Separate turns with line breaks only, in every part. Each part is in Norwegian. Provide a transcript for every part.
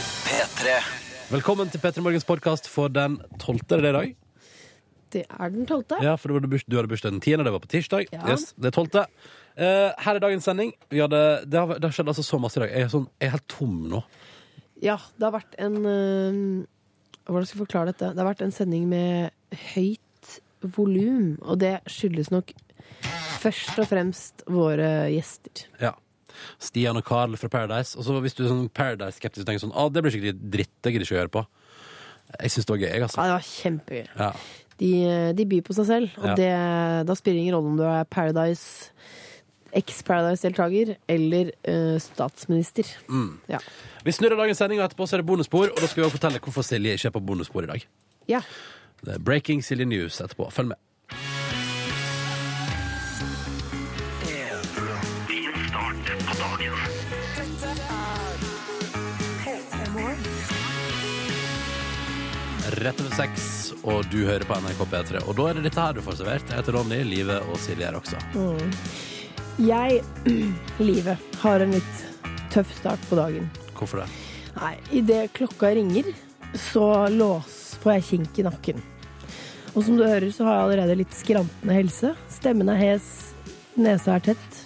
P3.
Velkommen til P3 Morgens podkast for den 12. Er det i dag?
Det er den tolvte.
Ja, for det var du, burs- du hadde bursdag den 10., det var på tirsdag.
Ja.
Yes, det er 12. Eh, her er dagens sending. Vi hadde, det, har, det har skjedd altså så masse i dag. Jeg er, sånn, jeg er helt tom nå.
Ja, det har vært en eh, Hvordan skal jeg forklare dette? Det har vært en sending med høyt volum, og det skyldes nok først og fremst våre gjester.
Ja. Stian og Carl fra Paradise. Og så hvis du er sånn Paradise-skeptisk og tenker sånn ah, det blir skikkelig dritt, det gidder jeg ikke å høre på. Jeg syns det var gøy, jeg, altså.
Ja, det var kjempegøy.
Ja.
De, eh, de byr på seg selv, og
Ja.
det, da spiller det ingen rolle om du er Paradise eks-Paradise-deltaker eller eh, statsminister.
Mm.
Ja.
Vi snurrer dagens sending, og etterpå så er det bonusspor. Og da skal vi også fortelle hvorfor Silje ikke er på bonusspor i dag.
ja.
Det er breaking Silje News etterpå. Følg med. Rett over seks, og du hører på NRK P3. Og da er det dette her du får servert. Jeg heter Ronny, Live og Silje er også.
Jeg, livet, har en litt tøff start på dagen.
Hvorfor det?
Nei, idet klokka ringer, så lås får jeg kink i nakken. Og som du hører, så har jeg allerede litt skrantende helse. Stemmen er hes, nesa er tett.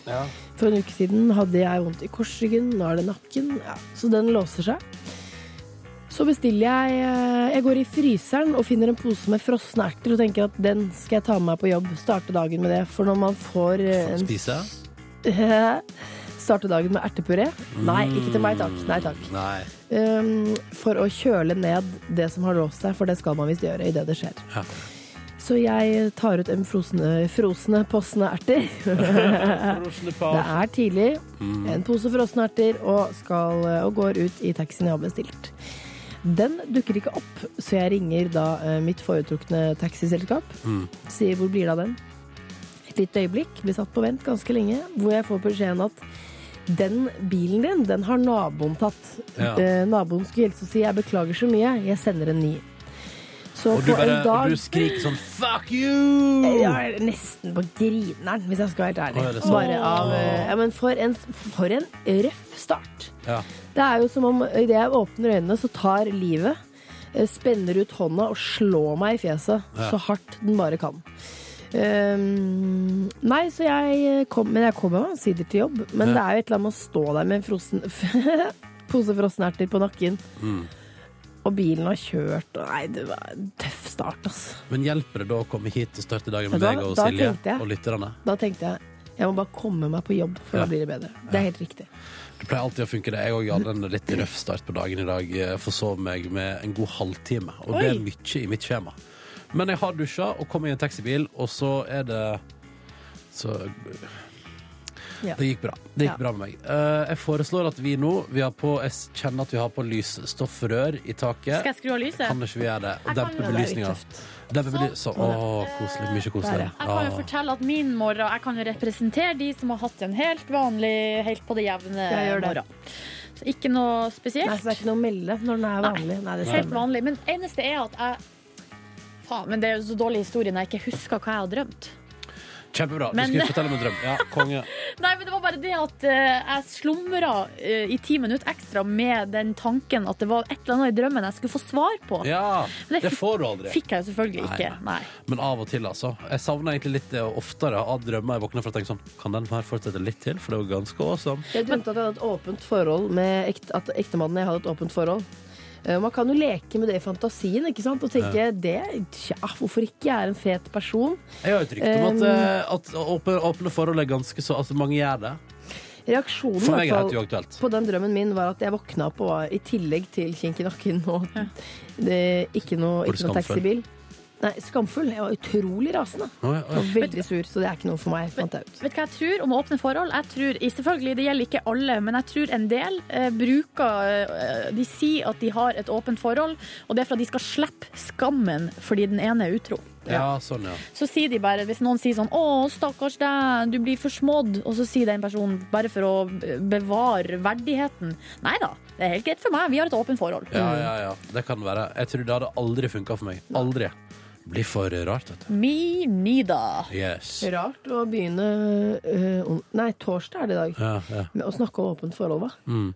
For en uke siden hadde jeg vondt i korsryggen, nå er det nakken. Ja, så den låser seg. Så bestiller jeg eh, Jeg går i fryseren og finner en pose med frosne erter og tenker at den skal jeg ta med meg på jobb. Starte dagen med det. For når man får eh, en
Spise?
Starte dagen med ertepuré? Nei, ikke til meg takk. Nei takk.
Nei.
Ehm, for å kjøle ned det som har låst seg, for det skal man visst gjøre idet det skjer.
Ja.
Så jeg tar ut en frosne, frosne possene erter. Det er tidlig.
Mm.
En pose frosne erter og, skal, og går ut i taxien jeg har bestilt. Den dukker ikke opp, så jeg ringer da eh, mitt foretrukne taxiselskap.
Mm.
Sier hvor blir det av den? Et lite øyeblikk, blir satt på vent ganske lenge, hvor jeg får beskjeden at den bilen din, den har naboen tatt.
Ja.
Eh, naboen skulle hilse og si 'jeg beklager så mye, jeg sender en ny'. Så
Og du,
på en
bare,
dag
du skriker sånn 'fuck you'!
jeg er nesten på grineren, hvis jeg skal være helt
Å, er
ærlig.
det sant?
Bare av, eh, ja, men for en, for en røff start.
Ja.
Det er jo som om idet jeg åpner øynene, så tar livet, eh, spenner ut hånda og slår meg i fjeset
Ja.
så hardt den bare kan. Ehm, nei, så jeg eh, kom, men jeg kommer meg omsider til jobb. Men
Ja.
det er jo et eller annet med å stå der med en frossen, pose frossenerter på nakken.
Mm.
Og bilen har kjørt. og Nei, det var en tøff start, altså.
Men hjelper det da å komme hit og starte dagen med
Ja, da-
deg og
da
Silje
tenkte jeg.
og lytterne?
Da tenkte jeg jeg må bare komme meg på jobb, for
Ja.
da blir det bedre. Det er helt riktig.
Det pleier alltid å funke, det. Jeg òg hadde en litt røff start på dagen i dag. Jeg Forsov meg med en god halvtime, og det er
Oi.
mye i mitt skjema. Men jeg har dusja og kom i en taxibil, og så er det Så
Ja.
Det gikk bra. Det
Ja.
gikk bra med meg. Eh, jeg foreslår at vi nå vi har på, Jeg kjenner at vi har på lysstoffrør i taket.
Skal jeg skru av lyset?
Kan ikke vi gjøre det? Og
Jeg kan
dempe
jo det.
belysninga. Dempe bely- Så, å, koselig. Mye
Der,
koselig.
ja.
Jeg kan jo fortelle at min morgen Jeg kan jo representere de som har hatt en helt vanlig, helt på det jevne
Jeg gjør det.
morgen. Så ikke noe spesielt.
Nei, så det er ikke noe å melde når den er vanlig. Nei, det
Helt
stemmer.
vanlig. Men eneste er at jeg Faen, men det er jo så dårlig historie når jeg ikke husker hva jeg har drømt.
Ah, kjempebra. Du
Men-
skulle fortelle om en drøm. Ja, konge.
Nei, men det var bare det at eh, jeg slumra eh, i ti minutter ekstra med den tanken at det var et eller annet i drømmen jeg skulle få svar på.
Ja,
Men det
det får du aldri.
Fikk jeg jo selvfølgelig
Nei,
ikke. Nei.
Men av og til, altså. Jeg savner egentlig litt det og oftere av drømmer jeg våkner fra og tenker sånn Kan den her fortsette litt til? For det var ganske awesome.
Jeg drømte at jeg hadde et åpent forhold med ekte, at ektemannen jeg hadde et åpent forhold. Eh, Man kan jo leke med det i fantasien ikke sant? og tenke det, tja, hvorfor ikke? Jeg er en fet person.
Jeg har et rykte om at, eh, at åpne, åpne forhold er ganske så Altså, mange gjør det.
Reaksjonen
For
i
meg er det
hvert
helt
fall,
uaktuelt.
på den drømmen min var at jeg våkna opp og var i tillegg til kink i nakken og det, ikke noe,
Var du
ikke noe
skamfull?
taxibil. Nei, skamfull. Jeg var utrolig rasende
Oi, oi.
og veldig sur, så det er ikke noe for meg, fant jeg ut.
Vet du hva jeg tror om å åpne forhold? Jeg tror, i- selvfølgelig, Det gjelder ikke alle, men jeg tror en del eh, bruker eh, De sier at de har et åpent forhold, og det er for at de skal slippe skammen fordi den ene er utro.
Ja, sånn, ja.
Så sier de bare, Hvis noen sier sånn 'Å, stakkars deg, du blir forsmådd', og så sier den personen bare for å bevare verdigheten 'Nei da, det er helt
Mm.
greit for meg, vi har et åpent forhold'.
Ja, ja, ja. Det kan være. Jeg tror det hadde aldri funka for meg. Aldri. Blir for rart, vet du.
Me neither.
Yes.
Rart å begynne eh, on- Nei, torsdag er det i dag.
Ja, ja.
Med å snakke om åpent forhold, hva?
Men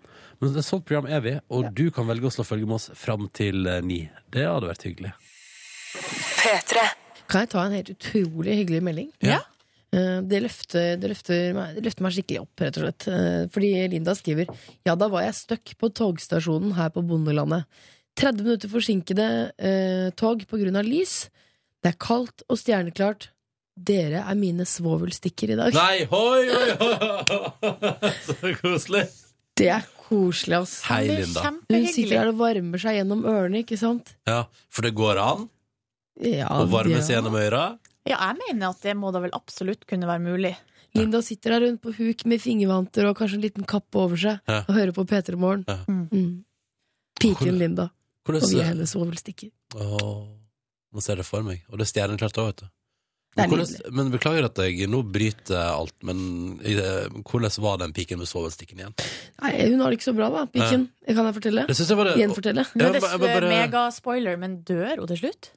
et sånt program er vi, og du kan velge å slå følge med oss fram til eh, ni. Det hadde vært hyggelig.
P3.
Kan jeg ta en helt utrolig hyggelig melding?
Ja.
Eh, Det løfter, det, løfter meg, det løfter meg skikkelig opp, rett og slett. Eh, Fordi Linda skriver Ja, da var jeg stuck på togstasjonen her på Bondelandet. 30 minutter forsinkede eh, tog pga. lys. Det er kaldt og stjerneklart. Dere er mine svovelstikker i dag.
Nei, hoi, hoi, hoi! Så koselig.
Det er koselig, ass.
Hei,
Det er
Linda.
Hun
Kjempehyggelig.
sitter der og varmer seg gjennom ørene, ikke sant?
Ja, for det går an
Ja,
å varme seg
ja.
gjennom øra.
Ja, jeg mener at det må da vel absolutt kunne være mulig.
Linda sitter der rundt på huk med fingervanter og kanskje en liten kappe over seg
Ja.
og hører på P3 Morgen.
Ja.
Mm. Piken Linda, og vi er
Hvordan
hennes svovelstikker.
Åh, Nå ser jeg det for meg. Og det er stjerneklart òg, vet du.
Det
Men,
er
hvordan, men Beklager at jeg nå bryter alt, men i det- hvordan var den piken med svovelstikken igjen?
Nei, hun har det ikke så bra, da, piken. Kan jeg fortelle?
Det synes jeg var det,
Gjenfortelle?
Ja,
Høres
men- men bare-
megaspoiler, men dør hun til slutt?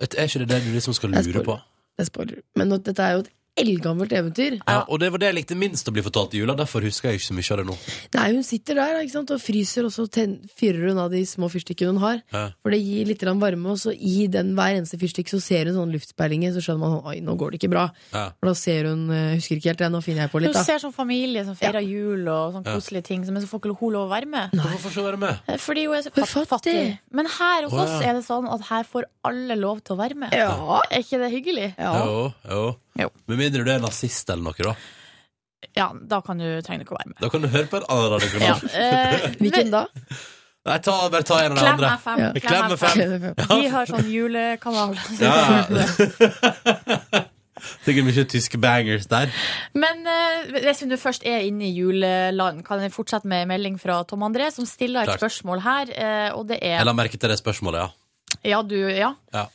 Et- Er ikke det det du liksom skal
Jeg
lure
spør.
på?
Det er spoiler. Men nå- dette er jo et eldgammelt eventyr.
Ja, og det var det jeg likte minst å bli fortalt i jula, derfor husker jeg ikke så mye av det nå.
Nei, hun sitter der ikke sant, og fryser, og så ten fyrer hun av de små fyrstikkene hun har.
Ja.
For det gir litt grann varme, og så i den hver eneste fyrstikk så ser hun sånne luftsperlinger, så skjønner man sånn, oi, nå går det ikke bra.
Ja.
For da ser hun, eh, husker ikke helt det, nå finner jeg på
Hun
litt, da.
ser sånn familie som feirer jul og sånn
Ja.
koselige ting, men så får ikke hun lov å være med.
Hvorfor får ikke jeg være med?
Eh, Fordi hun er så
Hun er
fat- fattig.
fattig.
Men her hos
Å,
oss
ja.
er det sånn at her får alle lov til å være med.
Ja.
Er ikke det hyggelig?
ja.
Jo, jo.
Jo.
Med mindre du er nazist eller noe, da.
Ja, da kan du, trenger du ikke å være med.
Da kan du høre på en annen
Ja.
radiokanal.
Eh,
Hvilken da?
Nei, ta, bare ta en av de
Klem
andre.
FM.
Ja.
Klem FM.
Vi har sånn julekanal.
Ja. Sikkert mye tyske bangers der.
Men eh, hvis vi nå først er inne i juleland, kan jeg fortsette med en melding fra Tom André, som stiller et
Klart.
spørsmål her, eh, og det
Jeg
er
la merke til det spørsmålet, ja.
Ja, du, ja.
Ja.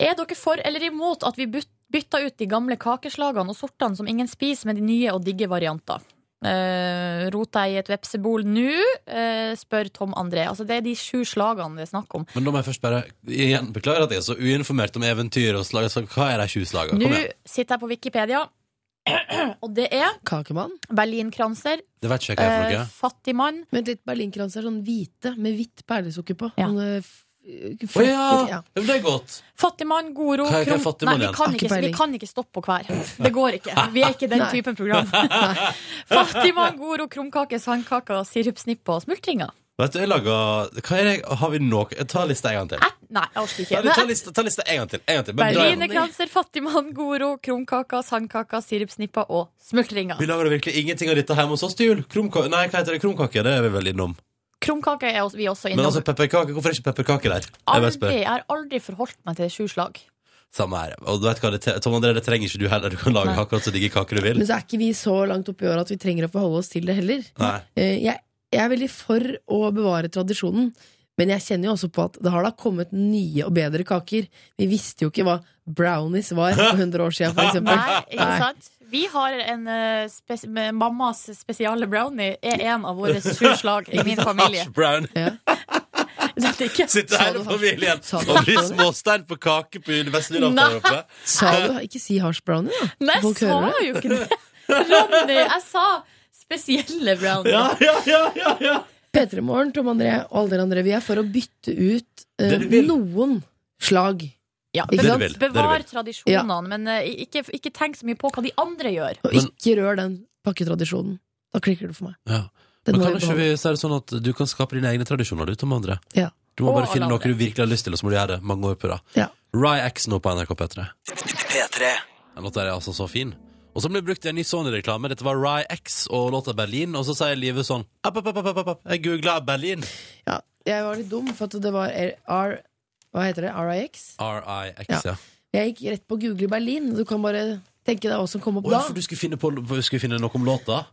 Er dere for eller imot at vi byt- bytter ut de gamle kakeslagene og sortene som ingen spiser, med de nye og digge varianter? Uh, Rota i et vepsebol nå, eh, spør Tom André. Altså, det er de sju slagene det er snakk om.
Men da må jeg først bare igjen beklage at jeg er så uinformert om eventyr og slag. Så hva er de sju slagene?
Nå
Kom igjen.
sitter jeg på Wikipedia, og det er
Kakemann?
berlinkranser,
Det vet ikke jeg hva er for
uh,
noe.
fattig mann,
Vent litt, berlinkranser er sånn hvite med hvitt perlesukker på.
Ja.
Sånne f-
eh,
Å ja!
flekker. Ja.
Men det er godt.
fattig mann, god ro
Hva er- hva er
krom-
fattig
Nei,
mann
vi
igjen?
kan,
Ikke
ikke, vi
peiling.
kan ikke stoppe på hver. Det går ikke. Vi er ikke den
Nei.
typen program. fattig mann, god ro, krumkake, sandkaker, sirupsnipper og smultringer.
Vet du, jeg lager Hva er det jeg Har vi noe Ta lista en gang til.
Eh, Nei, jeg orker
Ta, ta,
ikke.
lista, ta lista en gang til. En gang til. Bare dra igjennom.
Berlinerkranser, fattigmann, god ro, krumkaker, sandkaker, sirupsnipper og smultringer.
Vi lager virkelig ingenting av dette hjemme hos oss til jul. Krumka nei, hva heter det? Krumkake? Det er vi vel innom.
Krumkaker er også- vi er også
Men
innom.
altså, pepperkake, hvorfor er ikke pepperkake der? Jeg bare
Aldri,
spør.
jeg har aldri forholdt meg til sju slag.
Samme her. Og du vet hva, det, te- Tom André, det trenger ikke du heller. Du kan lage
Nei.
akkurat så digge kaker du vil.
Men så er ikke vi så langt opp i året at vi trenger å forholde oss til det heller.
Nei.
Eh, Jeg, jeg er veldig for å bevare tradisjonen, men jeg kjenner jo også på at det har da kommet nye og bedre kaker. Vi visste jo ikke hva brownies var for 100 år siden, for eksempel.
Nei, ikke sant? Vi har en eh, spes med Mammas spesiale brownie er en av våre sju slag i min familie.
Hash brown.
Ja.
Det er ikke
Sitter hele
du-
familien
Sa du-
og blir småstein på kake på Vestlige der oppe.
Sa du ikke si hash brownie, da?
Nei, jeg
Folk
sa
hører
jo ikke det. Ronny, jeg sa spesielle brownie.
Ja, ja, ja, ja, ja.
P3 Morgen, Tom André og alle dere andre, vi er for å bytte ut eh,
Det du vil.
noen slag.
Ja,
Ikke
Det du
sant?
vil. det du
Bevar
vil.
tradisjonene, men eh, ikke, ikke tenk så mye på hva de andre gjør.
Og
Men-
ikke rør den pakketradisjonen. Da klikker det for meg.
ja.
Den
Men
må
kan
vi
ikke
beholde.
vi si det sånn at du kan skape dine egne tradisjoner, du, Tom André?
Ja.
Du må
Og
bare finne
alle
noe
andre.
du virkelig har lyst til, og så må du gjøre det mange år på rad.
Ja.
Rye X nå på NRK P3.
P3.
Den låta er altså så fin. Og så ble det brukt i en ny Sony-reklame. Dette var Rye X og låta Berlin. Og så sier Live sånn app, app, app, app, app, app. Jeg googla Berlin.
Ja, jeg var litt dum, for at det var R... Hva heter det? RIX?
R-I-X, ja.
Ja. Jeg gikk rett på Google i Berlin. Du kan bare tenke deg hva som kom opp
Å,
da.
ja, for du skulle finne, på, skulle finne noe om låta?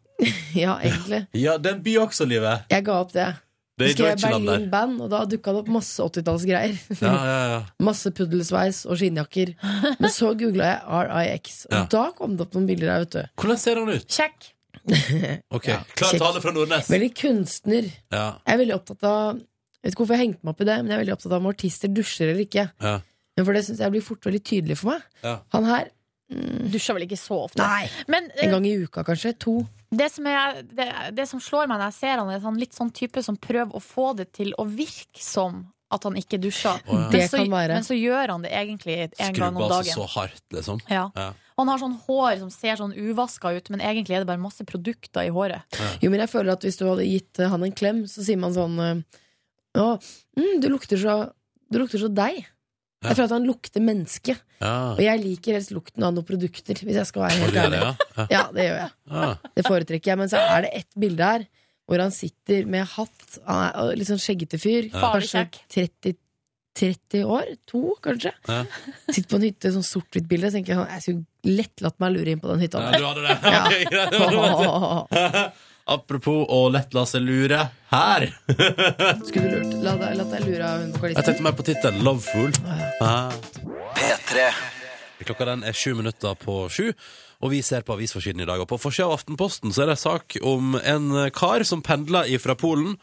Ja, egentlig.
Ja, den byr også, Live.
Jeg ga opp det.
Det er i
Så skrev jeg
Deutschland der.
Berlin Band, og da dukka det opp masse 80-tallsgreier.
Ja, ja, ja.
Masse puddelsveis og skinnjakker. Men så googla jeg RIX, og
Ja.
da kom det opp noen bilder der, vet du.
Hvordan ser han ut?
Sjekk.
Ok, Klar
Shit.
tale fra Nordnes.
Veldig kunstner.
Ja,
Jeg er veldig opptatt av jeg vet ikke hvorfor jeg hengte meg opp i det, men jeg er veldig opptatt av om artister dusjer eller ikke.
ja.
Men for det syns jeg blir fort veldig tydelig for meg.
Ja.
Han her
Dusjer vel ikke så ofte.
Nei!
Men eh,
En gang i uka, kanskje. To.
det, som er, det, det som slår meg når jeg ser han, er at han er litt sånn type som prøver å få det til å virke som at han ikke dusjer.
Å, ja.
Det
Men så-
kan være.
Men så gjør han det egentlig en gang om
Skrubba seg
dagen.
altså så hardt, liksom.
Ja.
Ja.
Han har sånn hår som ser sånn uvaska ut, men egentlig er det bare masse produkter i håret.
Jo, men jeg føler at hvis du hadde gitt eh, han en klem, så sier man sånn eh, Å, mm, du lukter så Du lukter så deg.
Ja.
Jeg føler at han lukter menneske.
Ja.
Og jeg liker helst lukten av noen produkter, hvis jeg skal være
Og
helt
gjør
ærlig.
det, ja. Ja.
Ja, det gjør jeg.
Ja.
Det foretrekker jeg. Men så er det ett bilde her hvor han sitter med hatt. Han er og litt sånn skjeggete fyr.
Farlig
Kanskje
kjekk.
30, 30 år? To, kanskje?
Ja.
Sitter på en hytte, sånn sort-hvitt bilde. Så tenker jeg sånn, jeg skulle lett latt meg lure inn på den hytta.
Ja,
der.
du hadde det. Ok, greit. Det var det. Apropos å lett la seg lure her.
Skulle du lurt la deg, latt deg lure av hun
Jeg
vokalisten?
tenkte mer på tittelen Loveful. Ah.
P3.
Klokka den er sju minutter på sju, og vi ser på avisforsiden i dag. Og på forsida av Aftenposten så er det sak om en kar som pendler fra Polen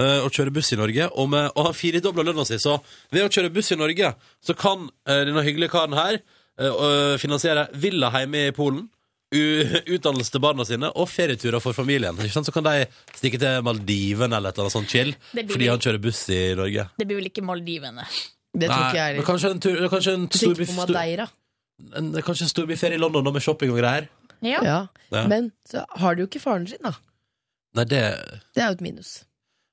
eh, og kjører buss i Norge. Og, med, og har firedobla lønna si, så ved å kjøre buss i Norge så kan eh, denne hyggelige karen her eh, å finansiere villa hjemme i Polen. u- Utdannelse til barna sine og ferieturer for familien. Ikke sant? Så kan de stikke til Maldivene eller et eller annet sånt chill
Det blir
fordi
vel-
han kjører buss i Norge.
Det blir vel ikke Maldivene.
Det tror ikke
Nei,
jeg
men
heller.
kanskje en, tur, kanskje en
Sitter
storby...
på
stor-
Madeira.
en, det er kanskje en storbyferie i London da, med shopping og greier.
Ja.
Ja.
Ja.
Men så har du jo ikke faren sin, da.
Nei, det
Det er jo et minus.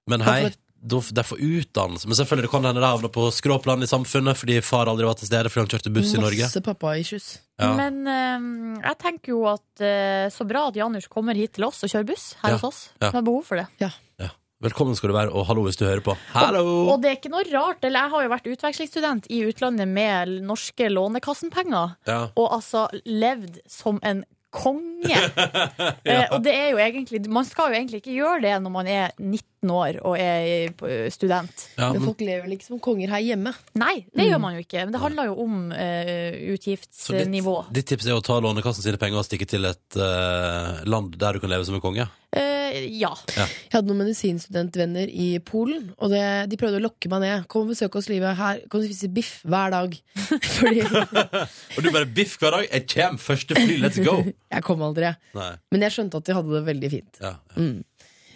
Men
for
hei,
et-
da f- det er for utdannelse. Men selvfølgelig det kan hende det havner på skråplan i samfunnet fordi far aldri var til stede fordi han kjørte buss i Norge.
Masse pappa-issues.
Ja.
Men eh, jeg tenker jo at eh, så bra at Janus kommer hit til oss og kjører buss her
Ja.
hos oss.
Ja.
Det er behov for det.
Ja. Velkommen skal du være, og hallo hvis du hører på. Hallo!
Og det er ikke noe rart. Eller jeg har jo vært utvekslingsstudent i utlandet med norske Lånekassen-penger,
Ja.
og altså levd som en konge. eh, og det er jo egentlig Man skal jo egentlig ikke gjøre det når man er 19 år og er eh, student.
Ja,
Men
men,
folk lever vel ikke som konger her hjemme.
Nei, det gjør man jo ikke. Men det handler jo om eh,
så ditt,
utgiftsnivå.
ditt tips er å ta Lånekassen sine penger og stikke til et eh, land der du kan leve som en konge?
Eh, ja.
Jeg hadde noen medisinstudentvenner i Polen, og det, de prøvde å lokke meg ned. Kom og besøk oss, livet. Her kan du spise biff hver dag. Fordi
Og du bare biff hver dag? Jeg kommer! Første fly, let's go!
jeg kom aldri. jeg.
Nei.
Men jeg skjønte at de hadde det veldig fint.
Ja.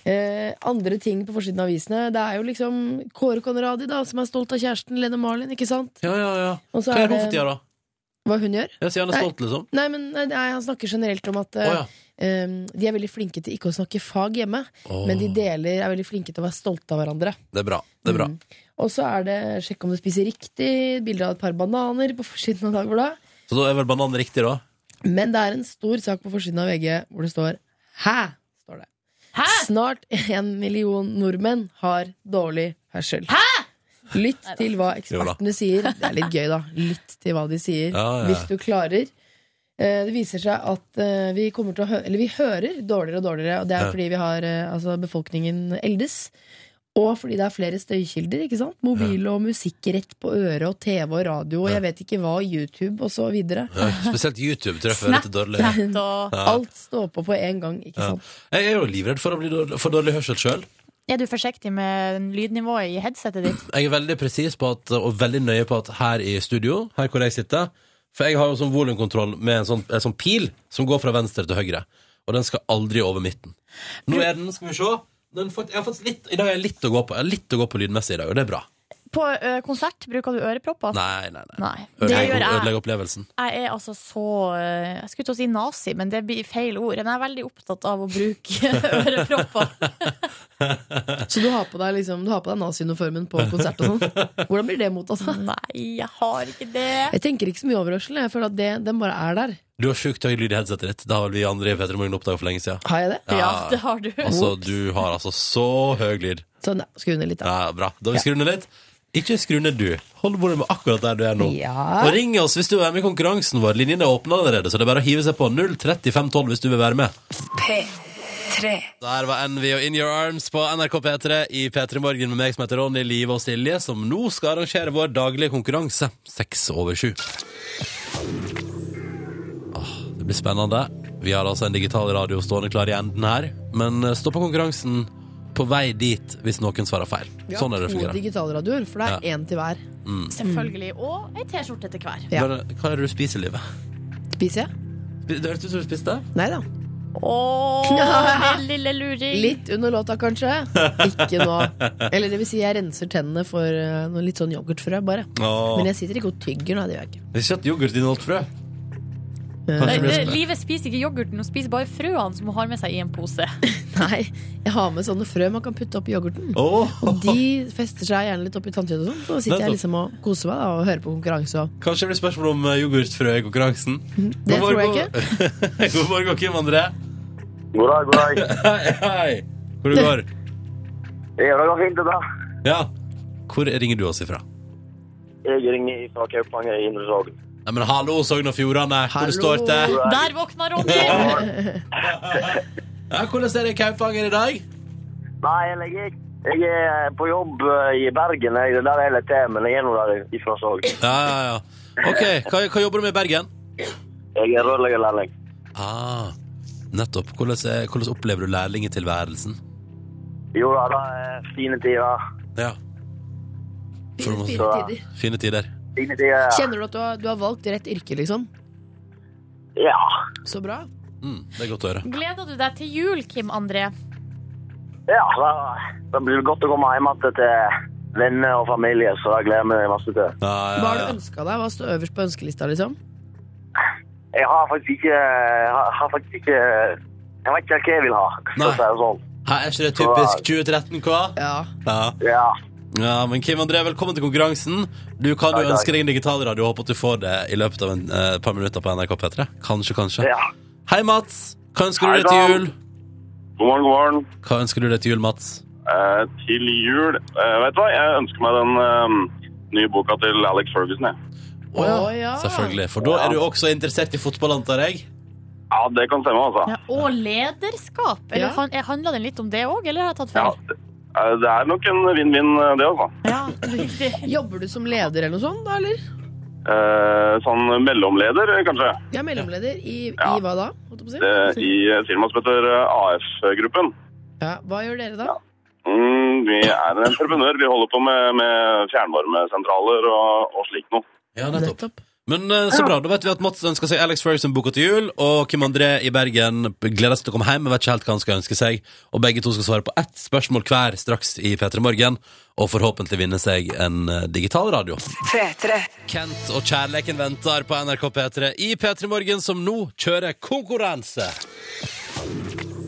Eh, andre ting på forsiden av avisene, det er jo liksom Kåre Conradi, da, som er stolt av kjæresten Lene Marlin, ikke sant?
ja, ja, ja.
Og så
Hva
er
gjør hun
det-
for tida, da?
Hva hun gjør?
Jeg sier han
Nei.
er stolt, liksom.
Nei, men nei, nei, han snakker generelt om at
Å
eh,
ja.
eh, de er veldig flinke til ikke å snakke fag hjemme,
Å,
men de deler er veldig flinke til å være stolte av hverandre.
Det er bra. Det er bra.
Mm. Og så er det 'sjekk om du spiser riktig', bilde av et par bananer på forsiden av Dagbladet.
Så da er vel bananen riktig, da?
Men det er en stor sak på forsiden av VG hvor det står 'hæ'? står det.
Hæ?
Snart en million nordmenn har dårlig hørsel. Lytt til hva ekspertene sier. Det er litt gøy, da. Lytt til hva de sier,
Ja, ja.
hvis du klarer. Eh, Det viser seg at eh, vi, kommer til å hø eller vi hører dårligere og dårligere, og det er
Ja.
fordi vi har, eh, altså, befolkningen eldes. Og fordi det er flere støykilder. ikke sant? Mobil og musikk rett på øret, og TV og radio, og jeg vet ikke hva, YouTube og så videre.
Ja, spesielt YouTube treffer
Snap,
litt dårlig.
Snapchat og
Ja.
Alt står på på en gang, ikke
Ja.
sant?
Jeg er jo livredd for å bli dårlig, for dårlig hørsel sjøl.
Er du forsiktig med lydnivået i headsetet ditt?
Jeg er veldig presis på at, og veldig nøye på at her i studio, her hvor jeg sitter For jeg har jo sånn volumkontroll med en sånn, en sånn pil som går fra venstre til høyre. Og den skal aldri over midten. Nå er den, skal vi se den fakt- jeg har fått litt, I dag har jeg litt å gå på Jeg har litt å gå på lydmessig i dag, og det er bra.
På ø, konsert bruker du ørepropper?
Nei, nei, nei.
Nei. Det
Ødelegg,
gjør jeg.
ødelegg opplevelsen.
Jeg er altså så ø, Jeg skulle til å si nazi, men det blir feil ord. Men jeg er veldig opptatt av å bruke ørepropper.
Så du har på deg liksom, du har på deg nazi-uniformen på konsert og sånn? Hvordan blir det mottatt? da?
Nei, jeg har ikke det.
Jeg tenker ikke så mye over hørselen. Jeg føler at det, den bare er der.
Du har sjukt høy lyd i headsetet ditt. Det har vel vi andre i Petter Morgen oppdaga for lenge siden.
Har jeg det?
Ja, det har du.
Altså, du har altså så høy lyd.
Sånn, ja. Skru ned litt, da.
Ja, bra. Da har vi skru ned litt. Ikke skru ned du. Hold volumet akkurat der du er nå.
Ja.
Og ring oss hvis du er med i konkurransen vår. Linjene er åpne allerede, så det er bare å hive seg på 03512 hvis du vil være med.
P3.
Der var Envy og In Your Arms på NRK P3 i P3 Morgen med meg som heter Ronny, Liv og Silje, som nå skal arrangere vår daglige konkurranse. Seks over sju. Åh, Det blir spennende. Vi har altså en digital radio stående klar i enden her. Men eh, stå på konkurransen på vei dit hvis noen svarer feil.
Vi har
Sånn er det det
to
fungerer.
digitalradioer, for det er én til hver.
Mm.
Selvfølgelig. Og ei T-skjorte til hver.
Ja.
Bare, hva er det du spiser i livet?
Spiser jeg?
Det hørtes ut som du spiste.
Nei da.
Åh, din lille luring.
Litt under låta, kanskje. Ikke nå. Eller det vil si, jeg renser tennene for eh, noe litt sånn yoghurtfrø, bare. Men jeg sitter ikke og tygger, nei, det gjør jeg ikke.
Ikke at yoghurt inneholdt frø.
Eh,
Kanskje
Eh,
det
eh,
blir
Livet spiser ikke yoghurten, hun spiser bare frøene som hun har med seg i en pose.
Nei, jeg har med sånne frø man kan putte oppi yoghurten.
Åh,
De fester seg gjerne litt oppi tannkjøttet og sånn. Så sitter jeg liksom og koser meg da, og hører på konkurranse og
Kanskje det blir spørsmål om eh, yoghurtfrø i konkurransen.
Det
God
tror jeg
morgen- God morgen, Kim André.
God dag, god dag.
Hei, hei. Hvor det går?
Det er da fint, det da.
Ja. Hvor ringer du oss ifra?
Jeg ringer fra Kaupanger i Indre Sogn.
Nei, men hallo, Sogn og Fjordane. Hvor
Hallo.
står det?
Der våkna Ronny!
Ja, hvordan er det i Kaupanger i dag?
Nei, eller jeg, jeg er på jobb eh, i Bergen. Jeg, det er der jeg er til, men jeg er nå der ifra Sogn.
Ja, ja, ja. Ok, hva, hva jobber du med i Bergen?
Jeg er rørleggerlærling.
Ah, nettopp. Hvordan, er- hvordan opplever du lærlingetilværelsen?
Jo da, det er fine tider.
Ja. For å-
Fire tider.
Fine tider.
Fine tider. ja.
Kjenner du at du har, du har valgt rett yrke, liksom?
Ja.
Så bra.
Mm, det er godt å høre.
Gleder du deg til jul, Kim André?
Ja, da, da blir det godt å komme hjem igjen til venner og familie, så det gleder jeg meg masse til.
Ja,
Hva
ja,
har du
ja.
ønska deg? Hva står øverst på ønskelista, liksom?
Jeg har faktisk ikke eh, har, har faktisk ikke eh, Jeg vet ikke hva jeg vil ha, for å
Nei.
si det sånn.
Her er ikke det typisk 2013K?
Ja.
Ja.
Ja.
ja, men Kim André, velkommen til konkurransen. Du kan
Takk,
jo
takk.
ønske deg en digitalradio og håpe at du får det i løpet av en eh, par minutter på NRK P3. Kanskje, kanskje.
ja.
Hei, Mats. Hva ønsker
Hei,
du deg til
Dan.
jul?
God morgen, god morgen.
Hva ønsker du deg til jul, Mats?
Eh, til jul eh, Vet du hva, jeg ønsker meg den eh, nye boka til Alex Ferguson, jeg.
Å
Å, ja.
Selvfølgelig. For da er du også interessert i fotball, antar jeg?
Ja, det kan stemme, altså.
Ja, og lederskap.
Ja.
Eller han- Handla den litt om det òg, eller har jeg tatt
Ja,
feil?
det, eh, det er nok en vinn-vinn, eh, det, altså.
Ja, riktig.
Jobber du som leder eller noe sånt, da, eller?
Eh, sånn mellomleder, eh, kanskje,
Ja, mellomleder. I,
Ja.
i hva da? holdt jeg på å si?
det, i et firma som heter eh, AF-gruppen.
Ja. Hva gjør dere da?
Mm, vi er en entreprenør. Vi holder på med, med fjernvarmesentraler og, og slikt noe.
Ja, nettopp. Men eh, så bra, da vet vi at Mats ønsker seg Alex Ferguson-boka til jul, og Kim André i Bergen gleder seg til å komme hjem, men vet ikke helt hva han skal ønske seg. Og begge to skal svare på ett spørsmål hver straks i P3 Morgen, og forhåpentlig vinne seg en eh, digital radio.
P3.
Kent og kjærleken venter på NRK P3 i P3 Morgen, som nå kjører konkurranse.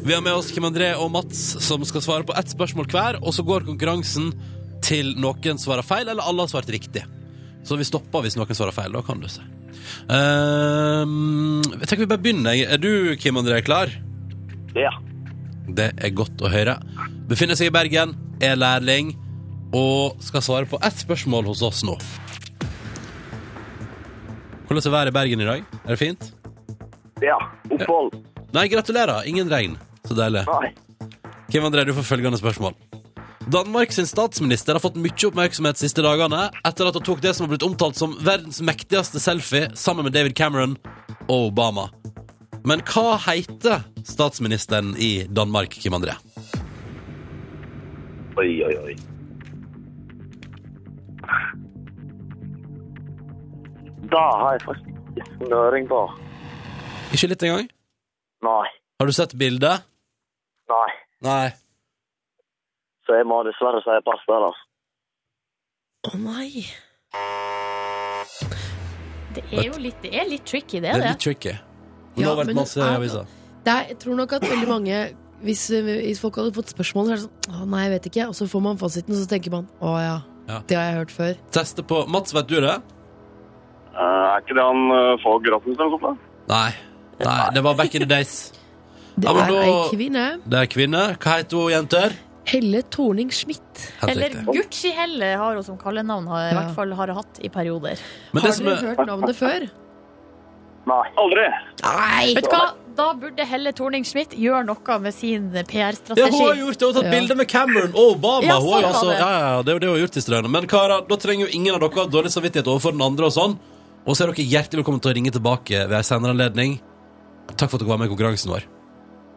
Vi har med oss Kim André og Mats, som skal svare på ett spørsmål hver. Og så går konkurransen til noen svarer feil, eller alle har svart riktig. Så vi stopper hvis noen svarer feil. Da kan du se. Ehm, jeg tenker vi bare begynner. Er du, Kim André, klar?
ja.
Det er godt å høre. Befinner seg i Bergen, er lærling og skal svare på ett spørsmål hos oss nå. Hvordan er været i Bergen i dag? Er det fint?
Ja. Opphold.
Nei, gratulerer. Ingen regn. Så deilig.
Nei.
Kim André, du får følgende spørsmål. Danmark sin statsminister har fått mye oppmerksomhet siste dagene etter at hun tok det som har blitt omtalt som verdens mektigste selfie sammen med David Cameron og Obama. Men hva heter statsministeren i Danmark, Kim André?
Oi, oi, oi. Da har jeg faktisk ikke snøring på.
Ikke litt engang?
Nei,
Har du sett bildet?
nei.
Nei.
Så jeg må dessverre si pass der, altså.
Å nei!
Det er jo litt, det er litt tricky, det,
Det er
det.
litt tricky. Men
Ja,
det har vært
men
masse
er-
aviser.
Det er, jeg tror nok at veldig mange hvis, eh, hvis folk hadde fått spørsmål, så er det sånn Å nei, jeg vet ikke. Og så får man fasiten, og så tenker man Å ja,
Ja.
det har jeg hørt før.
Teste på Mats, vet du det?
Eh, er ikke det han uh, Fogh Rasmussen eller noe sånt? da?
Nei. Nei, det var back in the days.
Det
Ja, men
er
da-
ei kvinne.
Det er kvinne. Hva heter hun, jenter?
Helle Thorning-Schmidt.
Helt
Eller
riktig.
Gucci-Helle har hun som kallenavn, har, i
Ja.
hvert fall har hun hatt i perioder.
Men
Har
det som
dere
er
hørt navnet før?
Nei.
Aldri!
Nei!
Vet du hva? Da burde Helle Thorning-Schmidt gjøre noe med sin
ja, hun har
PR-strategi.
gjort det! Hun har tatt
Ja.
bilde med Cameron og Obama!
Ja,
hun har jo
sånn var
altså,
det.
ja, ja, ja, det er jo det hun har gjort i strømmen. Men karer, da trenger jo ingen av dere ha dårlig samvittighet overfor den andre og sånn. Og så er dere hjertelig velkommen til å ringe tilbake ved en senere anledning. Takk for at dere var med i konkurransen vår.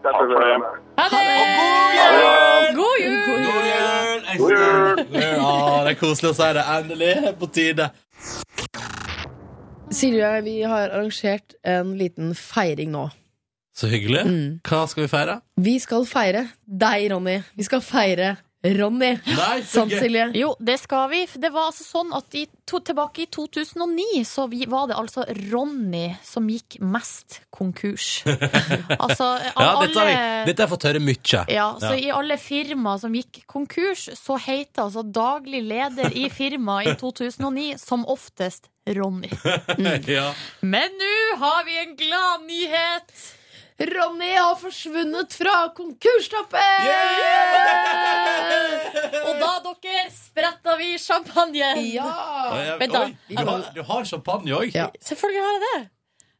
Takk for det.
Ha det! God jul!
God jul!
Ja, det er koselig å si det. Endelig på tide.
Silje og jeg vi har arrangert en liten feiring nå.
Så hyggelig.
Mm.
Hva skal vi feire?
Vi skal feire deg, Ronny. Vi skal feire Ronny.
Nei, så
Sånn
Sant,
gøy.
Silje?
Jo, det skal vi. Det var altså sånn at i to, tilbake i 2009 så vi, var det altså Ronny som gikk mest konkurs. altså, av
Ja, dette, har
alle-
jeg, dette har jeg fått høre mye.
Ja, så
Ja.
i alle firma som gikk konkurs, så heter altså daglig leder i firma i 2009 som oftest Ronny. Mm.
Ja.
Men nå har vi en glad nyhet!
Ronny har forsvunnet fra konkurstoppen!
Og da, dere, spretta vi champagne.
Ja!
Oi,
Vent da.
du, har, du har champagne òg?
Ja.
Selvfølgelig har jeg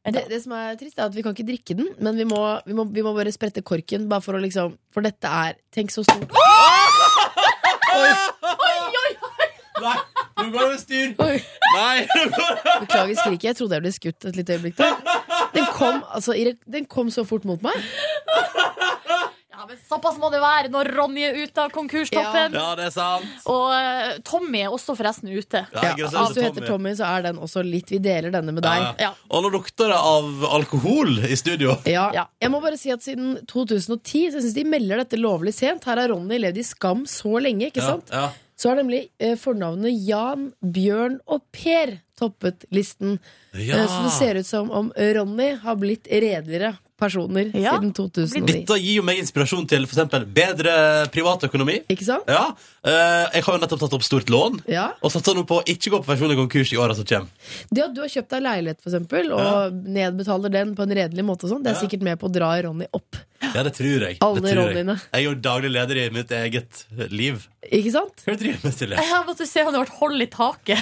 det.
Det, det som er trist, er at vi kan ikke drikke den, men vi må, vi må, vi må bare sprette korken. Bare for å liksom For dette er Tenk så stort.
Nei, nå går det styr!
Oi.
Nei, nå går det
Beklager skriket. Jeg trodde jeg ble skutt et lite øyeblikk der. Den kom, altså, i re- den kom så fort mot meg.
Ja, men Såpass må det være når Ronny er ute av konkurstoppen.
Ja, det er sant.
Og eh, Tommy er også forresten ute.
Ja,
Ja,
gratulerer
hvis du
til
heter Tommy, så er den også litt Vi deler denne med deg.
Ja, ja. Og nå lukter det av alkohol i studio.
Ja.
Ja.
Jeg må bare si at siden 2010 så syns de melder dette lovlig sent. Her har Ronny levd i skam så lenge, ikke sant?
Ja,
Så har nemlig eh, fornavnene Jan, Bjørn og Per toppet listen.
ja.
Eh, Så det ser ut som om Ronny har blitt redeligere personer
Ja.
siden 2009.
Dette gir jo meg inspirasjon til for eksempel bedre privatøkonomi.
Ikke sant?
Ja. eh, jeg har jo nettopp tatt opp stort lån.
Ja.
Og satser nå på å ikke gå på personlig konkurs i åra som kommer.
Det at du har kjøpt deg leilighet, for eksempel, og nedbetaler den på en redelig måte, og sånn, det er
Ja.
sikkert med på å dra Ronny opp.
Ja, det tror jeg.
Alle
det tror jeg.
rollene.
jeg er jo daglig leder i mitt eget liv.
Ikke sant?
Hva driver du med, Silje?
Jeg måtte se om det ble hold i taket,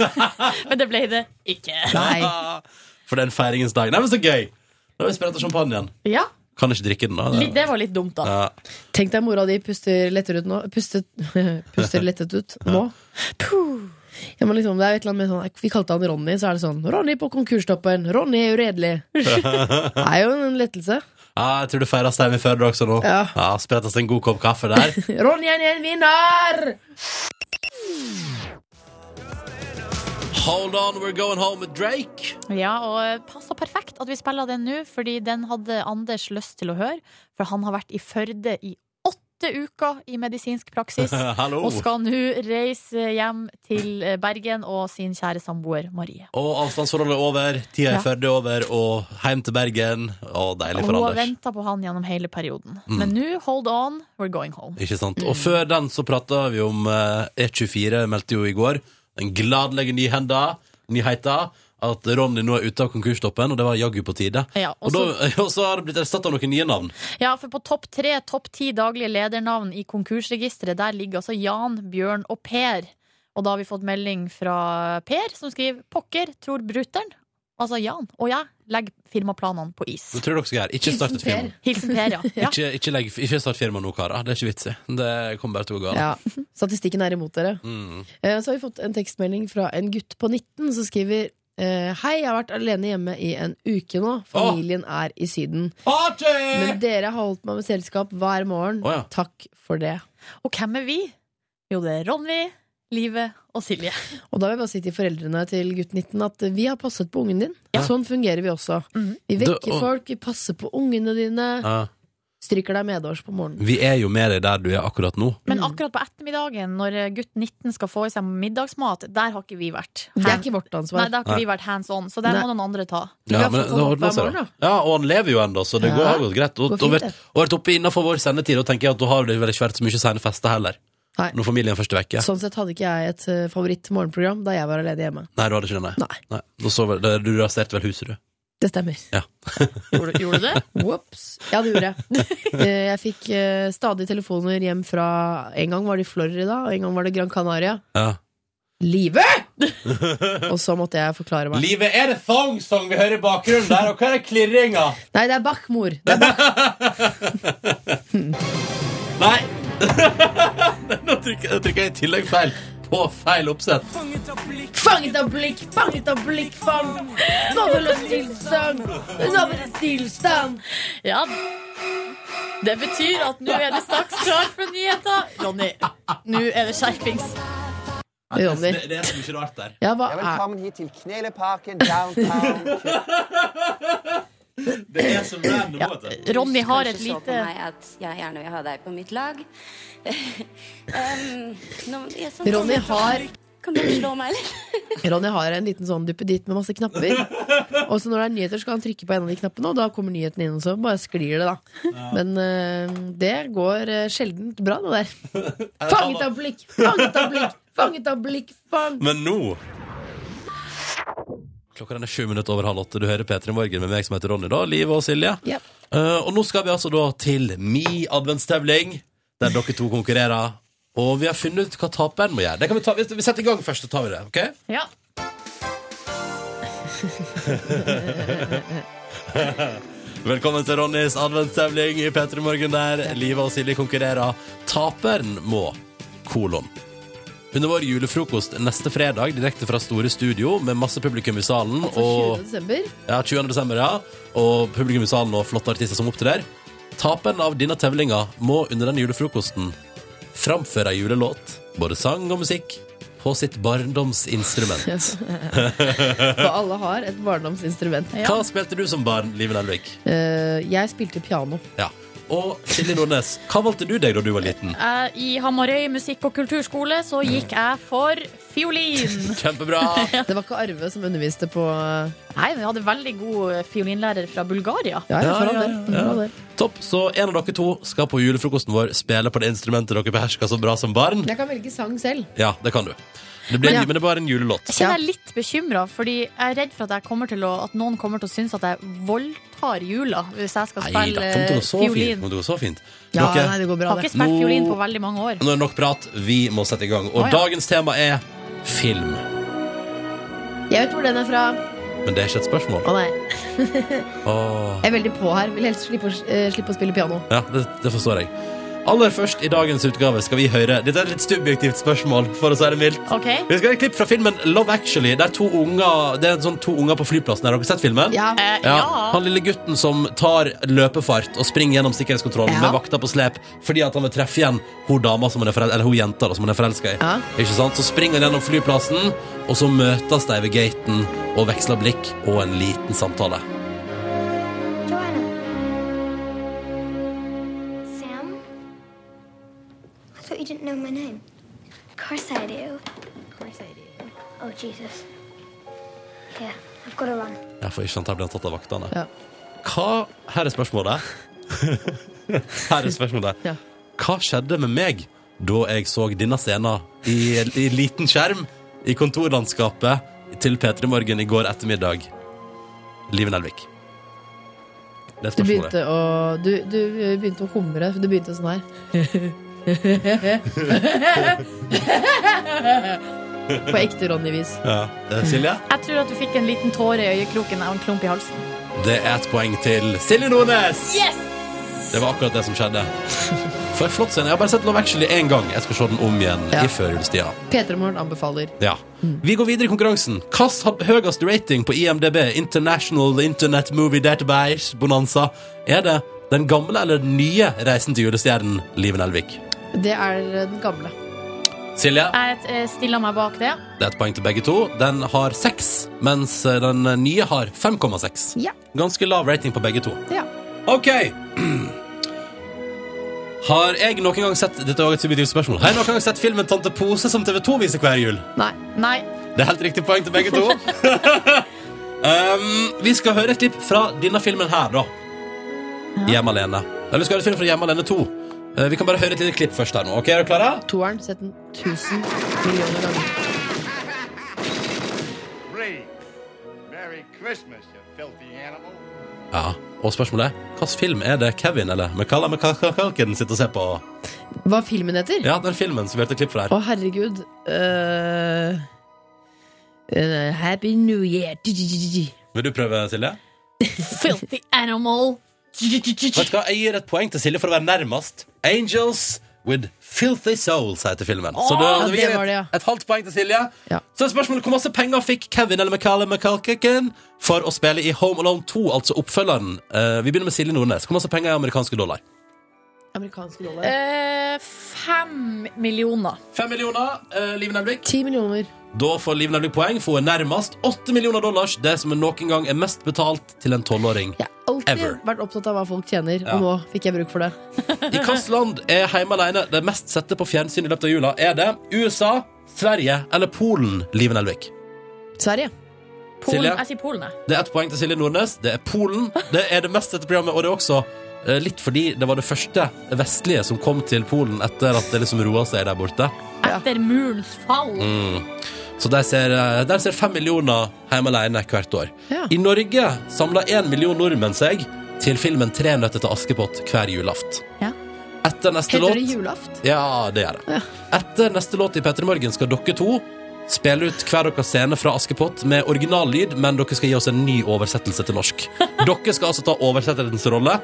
men det ble det ikke.
Nei.
For den feiringens dag. Nei, men så gøy! Nå er vi spent av champagnen.
Ja,
Kan ikke drikke den, da.
litt- Det var litt dumt, da.
Ja.
Tenk deg mora di puster lettere ut nå Pustet, puster lettet ut nå Puh. ja, men liksom, det er jo et eller annet med sånn, Vi kalte han Ronny, så er det sånn Ronny på konkurstoppen, Ronny er uredelig Det er jo en lettelse
Ja, Ah, jeg tror det feires hjemme i Førde også nå.
Ja.
Sprettes en god kopp kaffe der.
Ronny er en vinner
Hold on, we're going home with Drake.
Ja, og passa perfekt at vi spiller den nå, fordi den hadde Anders lyst til å høre. For han har vært i Førde i åtte uker i medisinsk praksis.
Hallo.
Og skal nå reise hjem til eh, Bergen og sin kjære samboer Marie.
Og avstandsforholdet er over, tida i
Ja.
Førde er over, og hjem til Bergen. Å, deilig
Og
for
hun har
Anders. Mm.
venta på han gjennom hele perioden. Men nå, hold on, we're going home.
Ikke sant?
Mm.
Og før den så prata vi om eh, E24, meldte jo i går. Den gladelige nyhenda, nyheita. At Ronny nå er ute av konkurstoppen, og det var jaggu på tide.
Ja,
og,
og
da, og så har det blitt erstatta av noen nye navn.
Ja, for på topp tre, topp ti daglige ledernavn i konkursregisteret, der ligger altså Jan, Bjørn og Per. Og da har vi fått melding fra Per, som skriver 'Pokker, tror brutter'n'. Altså Jan og jeg legger firmaplanene på
Nå
is.
tror jeg dere skal gjøre. Ikke start et firma.
Hilsen Per, ja. ja.
Ikke, ikke, legg, ikke start firma nå, karer. Det er ikke vits i. Det kommer bare til å gå galt.
ja. Statistikken er imot dere
Mm.
Eh, Så har vi fått en tekstmelding fra en gutt på 19 som skriver eh, Hei, jeg har vært alene hjemme i en uke nå Familien er i syden Men dere har holdt meg med selskap hver morgen
Å, ja.
Takk for det
Og hvem er vi? Jo, det er Ronny, Live og Silje.
Og da vil jeg bare si til foreldrene til gutt 19 at vi har passet på ungen din. Sånn fungerer vi også.
Mhm.
Vi vekker
Det- og-
folk, vi passer på ungene dine,
Ja.
stryker deg medårs på morgenen.
Vi er jo med deg der du er akkurat nå.
Men
Mm.
akkurat på ettermiddagen, når gutt 19 skal få i seg middagsmat, der har ikke vi vært.
Det er
Hand-
ikke vårt
Nei,
ansvar.
der har ikke vi vært hands on, så der må
Nei.
noen andre ta.
Vi har fått
det
han opp
ordner
hver
seg da.
morgen, da.
ja, og han lever jo ennå, så det
Ja.
går, har gått greit. Og,
Går fint,
og, vært,
det.
og vært oppe innafor vår sendetid, og tenker jeg at da har det vel ikke vært så mye sene fester heller.
Nei.
Når familien først er vekke.
Sånn sett hadde ikke jeg et eh, favoritt morgenprogram da jeg var alene hjemme.
Nei, du hadde ikke det, nei.
Nei.
Da sov, da, du raserte vel huset, du.
Det stemmer.
Ja.
Gjorde, gjorde du det?
Whoops. Ja, det gjorde jeg. Eh, Jeg fikk eh, stadig telefoner hjem fra En gang var det i Florida, og en gang var det Gran Canaria.
Ja.
Live! og så måtte jeg forklare meg.
Livet er det thong-song vi hører i bakgrunnen der, og hva er det klirringa?
Nei, det er Bach-mor. Det er Bach.
Nei! Nå trykker, jeg- trykker jeg i tillegg feil. På feil oppsett.
Fanget av blikk, fanget av blikk, fang Nå vil det stillstand, nå vil det stillstand
Ja. Det betyr at nå er det straks klart for nyheter. Ronny, nå er det skjerpings.
Ronny.
Det, det er så mye rart der.
Ja, hva
Ja,
er
velkommen hit til Kneleparken downtown.
Det er så random, vet du.
Ronny har et
Kanskje så
lite
på meg at jeg gjerne vil ha deg på mitt lag. um, nå- jeg er sånn-
Ronny har,
Kan du slå meg, eller?
Ronny har en liten sånn duppeditt med masse knapper. Og så når det er nyheter, skal han trykke på en av de knappene, og da kommer nyheten inn, og så bare sklir det, da. Men eh, det går uh, sjelden bra, det der. Fanget av blikk! Fanget av blikk! Fanget av blikk! Fang.
Men nå Klokka den er sju minutter over halv åtte. Du hører P3 Morgen med meg som heter Ronny, da. Liv og Silje.
Ja.
Eh, og nå skal vi altså da til mi adventstevling, der dere to konkurrerer. Og vi har funnet ut hva taperen må gjøre. Det kan vi, ta, vi vi setter i gang først, så tar vi det. ok?
Ja.
Velkommen til Ronnys adventstevling i P3 Morgen, der Liv og Silje konkurrerer. Taperen må kolon. Under vår julefrokost neste fredag, direkte fra Store Studio, med masse publikum i salen. og...
20. desember.
Ja, 20. desember, ja. Og publikum i salen og flotte artister som opptrer. Taperen av denne tevlinga må under denne julefrokosten framføre ei julelåt, både sang og musikk, på sitt barndomsinstrument.
For alle har et barndomsinstrument.
Hva spilte du som barn, Live Nelvik?
Eh, jeg spilte piano.
Ja. Og Silje Nordnes, hva valgte du deg da du var liten?
Eh, I Hamarøy musikk- og kulturskole så gikk jeg for fiolin.
Kjempebra!
Det var ikke Arve som underviste på eh,
Nei, men jeg hadde veldig god fiolinlærer fra Bulgaria.
Ja, ja,
Ja,
foran
ja,
der.
ja.
Foran der.
Topp. Så en av dere to skal på julefrokosten vår spille på det instrumentet dere beherska så bra som barn.
Jeg kan velge sang selv.
Ja, det kan du. Det blir,
Ja.
Men det er bare en julelåt.
Jeg kjenner jeg er litt bekymra, fordi jeg er redd for at, jeg kommer til å, at noen kommer til å synes at jeg voldtar jula hvis jeg skal
Nei da,
spille
kom
eh,
til å gå så fint.
fiolin.
Kom til å gå så fint.
Ja,
Dere-
nei, det går
Jeg
bra,
har
det.
ikke spilt
Nå-
fiolin på veldig mange år.
Nå er det nok prat, vi må sette i gang. Og
Å, ja.
dagens tema er film.
Jeg vet hvor den er fra.
Men det er ikke et spørsmål.
Å nei,
Åh.
Jeg er veldig på her. Vil helst slippe å, eh, slippe å spille piano.
Ja, det, det forstår jeg. Aller først i dagens utgave skal vi høre Dette er et litt subjektivt spørsmål, for å si det mildt.
Ok,
Vi skal høre et klipp fra filmen Love Actually. Det er to unger, det er sånn to unger på flyplassen. Har dere sett filmen?
Ja.
eh,
Ja.
ja.
Han lille gutten som tar løpefart og springer gjennom sikkerhetskontrollen
Ja.
med vakta på slep fordi at han vil treffe igjen hun dama som han er forel eller hun jenta da, som han er forelska i.
Ja.
Ikke sant? Så springer han gjennom flyplassen, og så møtes de ved gaten og veksler blikk og en liten samtale.
Sam? I thought you didn't know my name. Of course I do. Of course I do. Oh, Jesus. Yeah, I've got to run.
Ja, for ikke sant, her blir han tatt av vaktene.
Ja.
Hva Her er spørsmålet. her er spørsmålet.
Ja.
Hva skjedde med meg da jeg så denne scenen i, i liten skjerm i kontorlandskapet til P3 Morgen i går ettermiddag? Live Nelvik. Det
Du
er spørsmålet.
begynte å Du, du eh, begynte å humre. Du begynte sånn her. På ekte Ronny-vis.
Ja. Eh, Silje?
Jeg tror at du fikk en liten tåre i øyekroken og en klump i halsen.
Det er et poeng til Silje Nordnes!
Yes!
Det var akkurat det som skjedde. For en flott scene. Jeg har bare sett Love Actually én gang. Jeg skal se den om igjen
Ja.
i førjulstida.
P3 Morgen anbefaler.
Ja. Vi går videre i konkurransen. Hvilken hadde høyest rating på IMDb, International Internet Movie Database Bonanza? Er det den gamle eller den nye Reisen til julestjernen, Liven Elvik?
Det er den gamle.
Silje,
Jeg eh, stiller meg bak det.
det er et poeng til begge to. Den har seks, mens eh, den nye har 5,6.
Ja.
Ganske lav rating på begge to.
Ja.
OK. Har jeg noen gang sett Dette er også et subjektivt spørsmål. Har jeg noen gang sett filmen Tante Pose som TV2 viser hver jul?
Nei.
Nei.
Det er helt riktig poeng til begge to. um, vi skal høre et klipp fra denne filmen her, da. Hjemme alene. Eller vi skal høre et film fra Hjemme alene 2. Eh, vi kan bare høre et lite klipp først her nå. Ok, Er dere klare?
Toeren. Sett den 1000 millioner ganger.
Ja. Og spørsmålet er hvilken film er det Kevin eller Michaela McCalkin sitter og ser på?
Hva filmen heter?
Ja, den filmen som vi hørte et klipp fra her.
Å, herregud. Eh, eh, happy New Year.
Vil du prøve, Silje?
Filthy animal.
Vet du hva, Jeg gir et poeng til Silje for å være nærmest. Angels with Filthy Souls heter filmen. Så da,
Ja,
vi
det
gir
var det, ja.
et, et halvt poeng til Silje.
Ja.
Så er spørsmålet hvor masse penger fikk Kevin eller Michaela McCalkin for å spille i Home Alone 2, altså oppfølgeren. Eh, vi begynner med Silje Nordnes. Hvor masse penger er amerikanske dollar?
Amerikanske dollar.
Eh, fem millioner.
Fem millioner, eh, Liv Nelvik.
Ti millioner.
Da får Liv Nelvik poeng, for hun er nærmest 8 millioner dollars, det som noen gang er mest betalt til en tolvåring.
Alltid
Ever.
vært opptatt av hva folk tjener,
Ja.
og nå fikk jeg bruk for det.
I hvilket land er Hjemme alene det mest sette på fjernsyn i løpet av jula? Er det USA, Sverige eller Polen, Liv Nelvik?
Sverige.
Polen,
Silje?
jeg sier Polen, jeg.
Det er ett poeng til Silje Nordnes. Det er Polen. Det er det mest sette programmet, og det er også eh, litt fordi det var det første vestlige som kom til Polen etter at det liksom roa seg der borte.
Etter murens fall.
Mm. Så der ser, eh, der ser fem millioner hjemme alene hvert år.
Ja.
I Norge samla én million nordmenn seg til filmen 'Tre nøtter til Askepott' hver julaft.
Ja.
Etter neste
Heter
låt
det julaft?
Ja, det gjør det. Etter neste låt i P3 Morgen skal dere to spille ut hver deres scene fra Askepott med originallyd, men dere skal gi oss en ny oversettelse til norsk. Dere skal altså ta oversetterens rolle,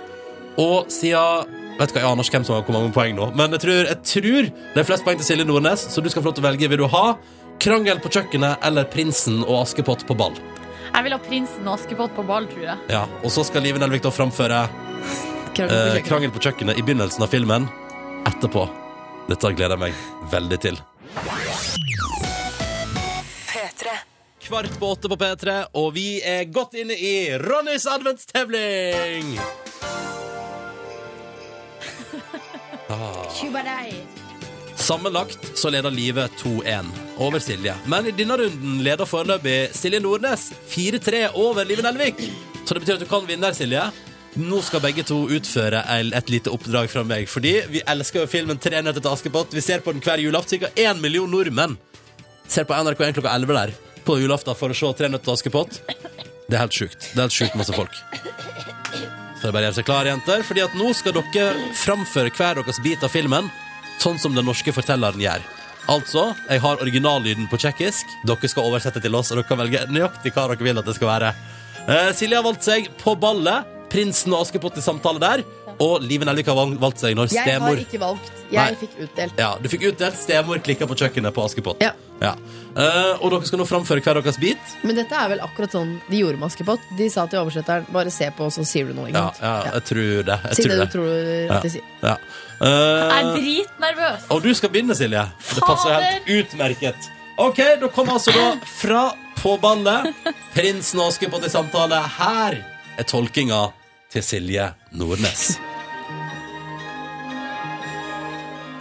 og siden Vet ikke hva, jeg aner ikke hvem som har hvor mange poeng nå, men jeg tror, jeg tror det er flest poeng til Silje Nordnes, så du skal få lov til å velge. Vil du ha Krangel på kjøkkenet eller Prinsen og Askepott på ball?
Jeg vil ha Prinsen og Askepott på ball, tror jeg.
Ja, Og så skal Live Nelvik da framføre
Krangel på
eh,
kjøkkenet.
Krangel på kjøkkenet i begynnelsen av filmen. Etterpå. Dette gleder jeg meg veldig til.
P3.
Kvart på åtte på P3, og vi er godt inne i Ronnys adventstevling! Ah.
Tjuba deg.
Sammenlagt så leder Live 2-1 over Silje. Men i denne runden leder foreløpig Silje Nordnes 4-3 over Live Nelvik. Så det betyr at du kan vinne her, Silje. Nå skal begge to utføre el- et lite oppdrag fra meg. Fordi vi elsker jo filmen 'Tre nøtter til Askepott'. Vi ser på den hver julaften. Ca. én million nordmenn ser på NRK1 klokka 11 der på julaften for å se 'Tre nøtter til Askepott'. Det er helt sjukt. Det er helt sjukt masse folk. Så det er bare å gjøre seg klar, jenter, fordi at nå skal dere framføre hver deres bit av filmen sånn som den norske fortelleren gjør. Altså, jeg har originallyden på tsjekkisk. Dere skal oversette til oss, og dere kan velge nøyaktig hva dere vil at det skal være. Eh, Silje har valgt seg På ballet, Prinsen og Askepott i samtale der, og Live Nelvik har valg- valgt seg når
Jeg har
stemor
ikke valgt.
Nei.
Jeg fikk utdelt.
ja, Du fikk utdelt stemor klikka på kjøkkenet på Askepott.
Ja.
Ja. Eh, og dere skal nå framføre hver deres bit.
Men dette er vel akkurat sånn de gjorde med Askepott. De sa til oversetteren 'bare se på, så sier du noe'. Ikke
Ja,
sant?
ja, jeg tror det. Jeg
Si det Mm.
tror
du
det.
tror at de sier.
Ja. Eh,
Jeg er dritnervøs.
Og du skal begynne, Silje. Det passer helt utmerket. Ok, da kommer altså da fra på ballet Prinsen og Askepott i samtale. Her er tolkinga til Silje Nordnes.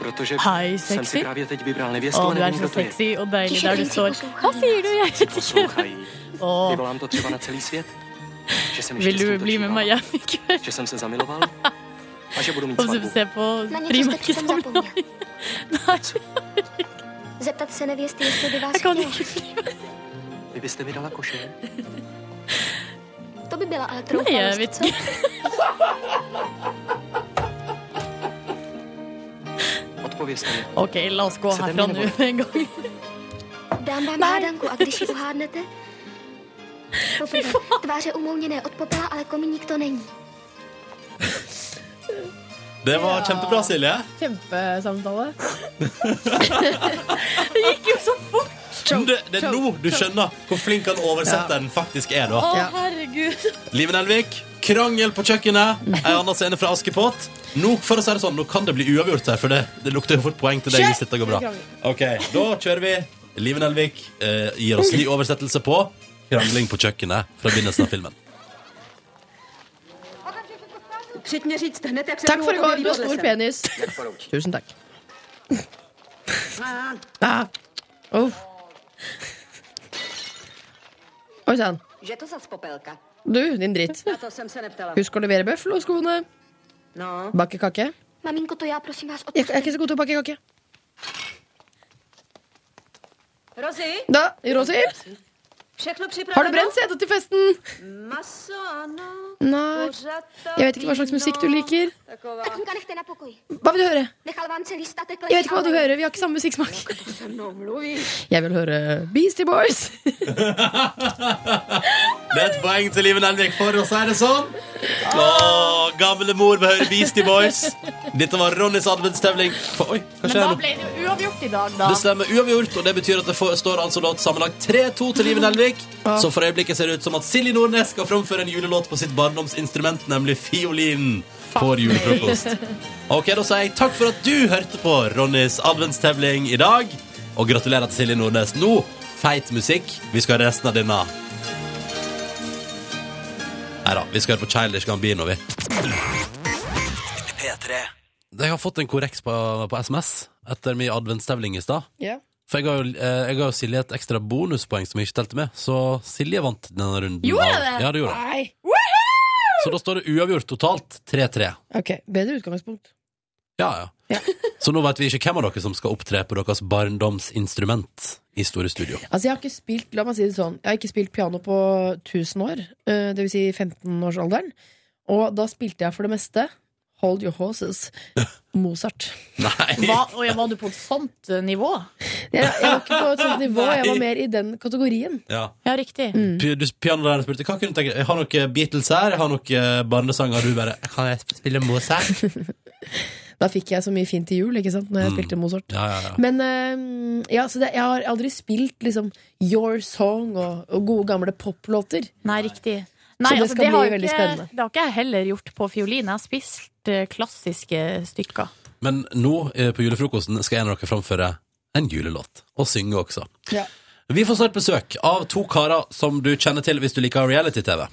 Protože
Hej,
jsem
sexy.
si právě teď vybral
Å,
nevěstu a
du
nevím,
er så
kdo to je.
sexy og deilig der du står. Hva sier du? Jeg vet ikke.
Poslouchají.
Åh.
Vyvolám to třeba na celý svět. Že jsem
Vil du
šťastný, to
bli med meg
přijmám,
hjem i kveld?
Že jsem se zamiloval a že budu mít
Og så
svatbu.
se på Primark sammen?
Zeptat se nevěsty, jestli by vás chtěla.
Vy byste mi dala košer?
To by byla ale
Nei, jeg
troufalost,
vet
co?
ikke.
Odpovězte mi.
OK, la oss gå herfra nå med en gang.
Dám vám hádanku a když ji uhádnete... Poprvé, tváře umouněné od popela, ale komíník to není.
Det var kjempebra, Silje.
Kjempesamtale.
Det gikk jo så fort!
Men Det, det er nå du skjønner hvor flink han oversetteren faktisk er,
Å,
da.
herregud.
Live Nelvik, krangel på kjøkkenet. Ei anna scene fra Askepott. Nå, for å si det sånn, nå kan det bli uavgjort her, for det, det lukter jo fort poeng til deg hvis dette går bra. Ok, Da kjører vi. Live Nelvik eh, gir oss ny oversettelse på krangling på kjøkkenet fra begynnelsen av filmen.
Přijď mě říct hned, jak se
Takk
mnou
for i går,
objeví
du
pod
har stor
lesem.
penis. Tusen takk. Ah. Uff. Oi sann.
Že to zas popelka?
Du, din dritt.
Na to jsem se neptala.
Husk å levere bøffeloskoene.
No.
Bake kake.
Maminko, to já prosím vás
Jeg jeg er ikke så god til å bake kake.
Rozi,
Da, Rosi,
všechno
har
připraveno?
du brent setet til festen?
Maso, ano.
Nei. Jeg vet ikke hva slags musikk du liker.
Taková.
Tatinka, nechte na pokoji.
Hva vil du høre?
Nechal vám celý statek
Jeg vet ikke hva du hører. Vi har ikke samme musikksmak.
Se mnou mluvíš.
Jeg vil høre Beastie Boys.
Det er et poeng til Live Nelvik for å si det sånn. Åh, gamle mor vil høre Beastie Boys. Dette var Ronnys adventstevling. For- Oi, hva
Men da
skjer nå?
ble det jo uavgjort i dag, da.
Det stemmer uavgjort, og det betyr at det får, står altså da sammenlagt 3-2 til Liven Elvik. Så for øyeblikket ser det ut som at Silje Nordnes skal framføre en julelåt på sitt barndomsinstrument, nemlig fiolin. For julefrokost. Ok, Da sier jeg takk for at du hørte på Ronnys adventstevling i dag. Og gratulerer til Silje Nordnes. Nå feit musikk. Vi skal høre resten av denne. Nei da, vi skal høre på Childish Gambino, vi.
P3.
Jeg har fått en korreks på, på SMS etter min adventstevling i stad.
Ja.
For jeg ga, jo, eh, jeg ga jo Silje et ekstra bonuspoeng som jeg ikke telte med, så Silje vant denne runden.
Gjorde jeg
av-
det?
Ja, det gjorde jeg.
Nei.
Så da står det uavgjort totalt 3-3.
Ok, bedre utgangspunkt.
Ja, ja. Så nå vet vi ikke hvem av dere som skal opptre på deres barndomsinstrument i Store Studio.
Altså, jeg har ikke spilt, la meg si det sånn, jeg har ikke spilt piano på 1000 år, eh, det vil si 15-årsalderen. Og da spilte jeg for det meste Hold Your Horses, Mozart.
Hva, og ja, var du på et sånt eh, nivå?
Jeg, jeg var ikke på et sånt nivå, jeg var mer i den kategorien.
Ja.
Ja, riktig.
Pi- du- Pianolæreren spurte hva kunne du tenke Jeg har noen Beatles her, jeg har noen barnesanger, du bare Kan jeg spille Mozart?
Da fikk jeg så mye fint til jul, ikke sant, når jeg
Mm.
spilte Mozart.
Ja, ja, ja.
Men eh, ja, så det, jeg har aldri spilt liksom Your Song og, og gode gamle poplåter.
Nei, riktig.
så det
altså,
skal
har
bli veldig
ikke,
spennende.
Det har ikke jeg heller gjort på fiolin. Jeg har spilt eh, klassiske stykker.
Men nå eh, på julefrokosten skal en av dere framføre en julelåt, og synge også.
Ja.
Vi får snart besøk av to karer som du kjenner til hvis du liker reality-TV.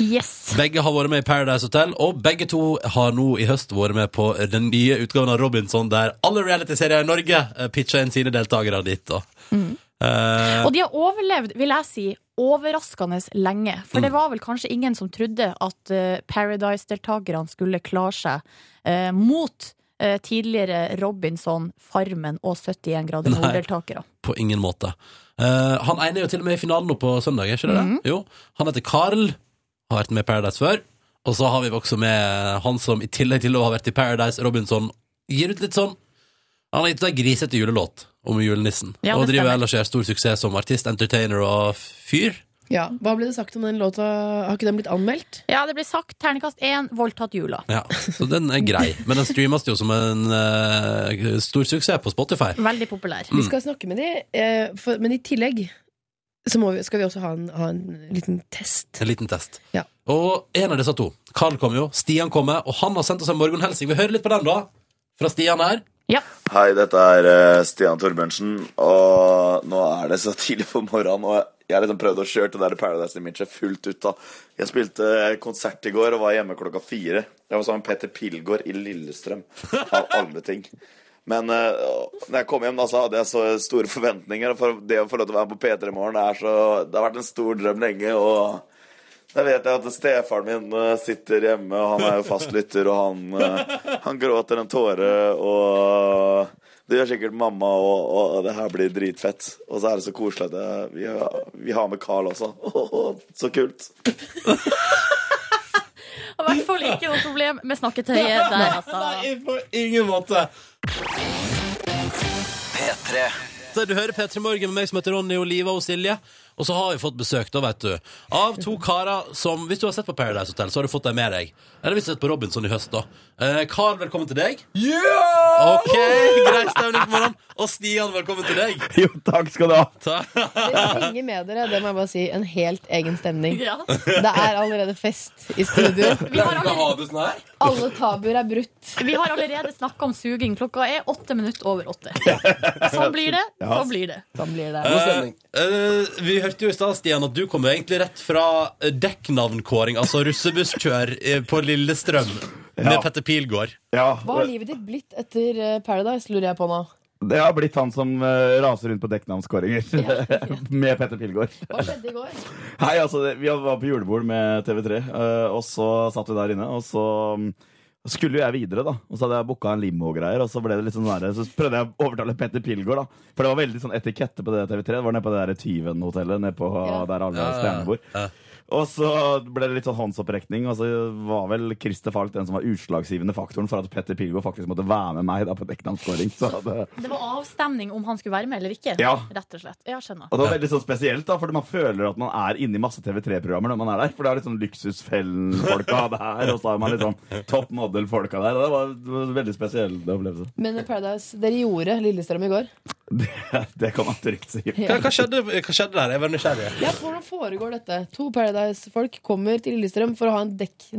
Yes.
Begge har vært med i Paradise Hotel, og begge to har nå i høst vært med på den nye utgaven av Robinson, der alle realityserier i Norge eh, pitcher inn sine deltakere dit. Da. Eh,
Og de har overlevd, vil jeg si, overraskende lenge. For det var vel kanskje ingen som trodde at eh, Paradise-deltakerne skulle klare seg eh, mot eh, tidligere Robinson, Farmen og 71 grader
Nei.
nord-deltakere.
På ingen måte. Eh, han ene er jo til og med i finalen nå på søndag, er ikke det?
Mhm.
det? Jo. Han heter Carl, har vært med i Paradise før. Og så har vi også med han som i tillegg til å ha vært i Paradise, Robinson, gir ut litt sånn Han har gitt ut ei grisete julelåt om julenissen.
Ja, det
og driver
stemmer.
ellers og gjør stor suksess som artist, entertainer og fyr.
Ja, Hva ble det sagt om den låta? Har ikke den blitt anmeldt?
Ja, det ble sagt terningkast én, voldtatt jula.
Ja, Så den er grei. Men den streames jo som en eh, stor suksess på Spotify.
Veldig populær.
Mm.
Vi skal snakke med de, eh, for, men i tillegg så må vi, skal vi også ha en, ha en liten test.
En liten test.
Ja.
Og en av disse to, Karl kommer jo, Stian kommer, og han har sendt oss en morgenhelsing. Vi hører litt på den, da. Fra Stian her.
Hei, dette er eh, Stian Torbjørnsen, og nå er det så tidlig på morgenen, og jeg har liksom prøvd å kjøre det der Paradise Imaget fullt ut, da. Jeg spilte eh, konsert i går og var hjemme klokka fire. Jeg var sammen med Petter Pilgaard i Lillestrøm, av alle ting. Men eh, når jeg kom hjem, da, så hadde jeg så store forventninger, og for det å få lov til å være på P3 i morgen, det, er så, det har vært en stor drøm lenge, og da vet jeg at stefaren min eh, sitter hjemme, og han er jo fast lytter, og han, eh, han gråter en tåre, Eh, og det gjør sikkert mamma, og, og, og det her blir dritfett. Og så er det så koselig at jeg, vi, har- vi har med Carl også. så kult.
Og I hvert fall ikke noe problem med snakketøyet der, altså.
Nei, på ingen måte. P3. Du hører P3 Morgen med meg som heter Ronny og Liva og Silje. Og så har vi fått besøk, da, vet du. Av to karer som Hvis du har sett på Paradise Hotel, så har du fått dem med deg. Eller hvis du har sett på Robinson i høst, da. Eh, Karl, velkommen til deg. Ok, grei stemning på morgenen. Og Stian, velkommen til deg.
Jo, takk skal du ha.
Dere henger med dere, det må jeg bare si. En helt egen stemning.
Ja.
Det er allerede fest i studio.
Alle
tabuer er brutt.
Vi har allerede snakka om suging. Klokka er åtte minutter over åtte. Sånn blir det.
Ja.
Sånn blir det.
Eh, eh, vi hørte jo i stad, Stian, at du kom jo egentlig rett fra eh, dekknavnkåring, altså russebusskjør eh, på Lillestrøm med
Ja.
Petter Pilgaard.
Ja,
Hva har livet ditt blitt etter eh, Paradise, lurer jeg på nå.
det har blitt han som eh, raser rundt på dekknavnskåringer med Petter Pilgaard.
Hva skjedde i går?
Hei, altså, det- vi var på julebord med TV3, eh, og så satt vi der inne, og så mm, skulle jo jeg videre, da. Og så hadde jeg booka en limo og greier, og så ble det litt sånn der, så prøvde jeg å overtale Petter Pilgaard, da. For det var veldig sånn etikette på det TV3. Det var nede på det der Tyven-hotellet, nede på der alle
Ja, ja, ja.
stjernene bor. Og så ble det litt sånn håndsopprekning, og så var vel Christer Falk den som var utslagsgivende faktoren for at Petter Pilgaard faktisk måtte være med meg da på Deknam-scoring. Så det,
Det var avstemning om han skulle være med eller ikke.
Ja.
Rett og slett. Ja, skjønner.
og det var veldig sånn spesielt, da, fordi man føler at man er inne i masse TV3-programmer når man er der. For det er litt sånn Luksusfellen-folka der, og så har man litt sånn Top Model-folka der. Og det var, det var en veldig spesiell opplevelse.
Men eh, Paradise, dere gjorde Lillestrøm i går.
Det kan man trygt si.
Hva- hva
skjedde, der? Jeg var nysgjerrig.
Ja, Hvordan foregår dette? To Paradise-folk kommer til Lillestrøm for å ha en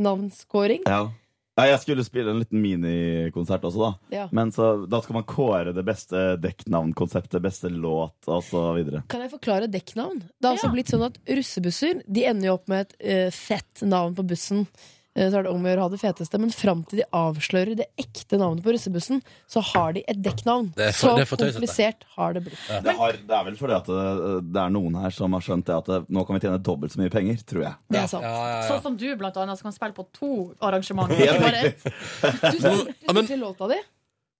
dekknavnskåring.
Ja. Nei, jeg skulle spille en liten minikonsert også, da.
Ja.
Men så, da skal man kåre det beste dekknavnkonseptet, beste låt og så videre.
Kan jeg forklare dekknavn? Det har altså blitt sånn at Russebusser de ender jo opp med et eh, fett navn på bussen. Eh, så er det om å gjøre å ha det feteste, Men fram til de avslører det ekte navnet på russebussen, så har de et dekknavn.
Det er for-
så
det er for tøysete.
komplisert har det blitt.
Det, har, det er vel fordi at det, det er noen her som har skjønt det at det, nå kan vi tjene dobbelt så mye penger, tror jeg.
Det er sant.
Sånn som du, blant annet, som kan spille på to arrangementer.
Helt
ikke bare ett.
riktig.
Du, spil- du spilte låta di.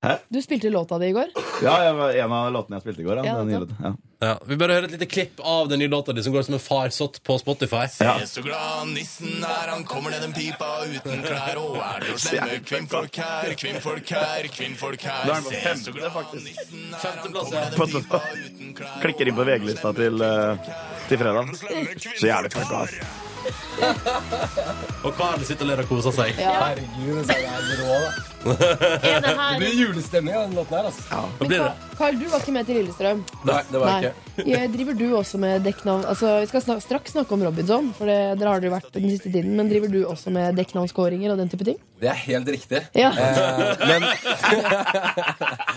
Hæ?
Du spilte låta di i går.
Ja, jeg var en av låtene jeg spilte i går. Ja,
Ja,
den nye
nettopp.
låten, ja.
Ja, vi bare hører et lite klipp av den nye låta di som går som en farsott på Spotify.
Ja.
Se så glad han nissen
er, han kommer ned den pipa uten klær. Og er det jo slemme kvinnfolk her, kvinnfolk her, kvinnfolk her.
Da er han på femte,
så glad han nissen er, han kommer ned
På- på- Klikker inn på VG-lista til, eh, til fredag. Så jævlig fett, ass.
Og Karl sitter og ler og koser seg.
Herregud, det er rå, da.
det her-
blir julestemning av den låten her, altså. Ja,
det blir det.
Carl, du var ikke med til Lillestrøm.
Nei, det var
Nei.
jeg ikke.
Jeg driver du også med dekknavn Altså, Vi skal snak straks snakke om Robinson, for det, dere har det jo vært den siste tiden. Men driver du også med dekknavnskåringer og den type ting?
Det er helt riktig.
Ja.
Eh, men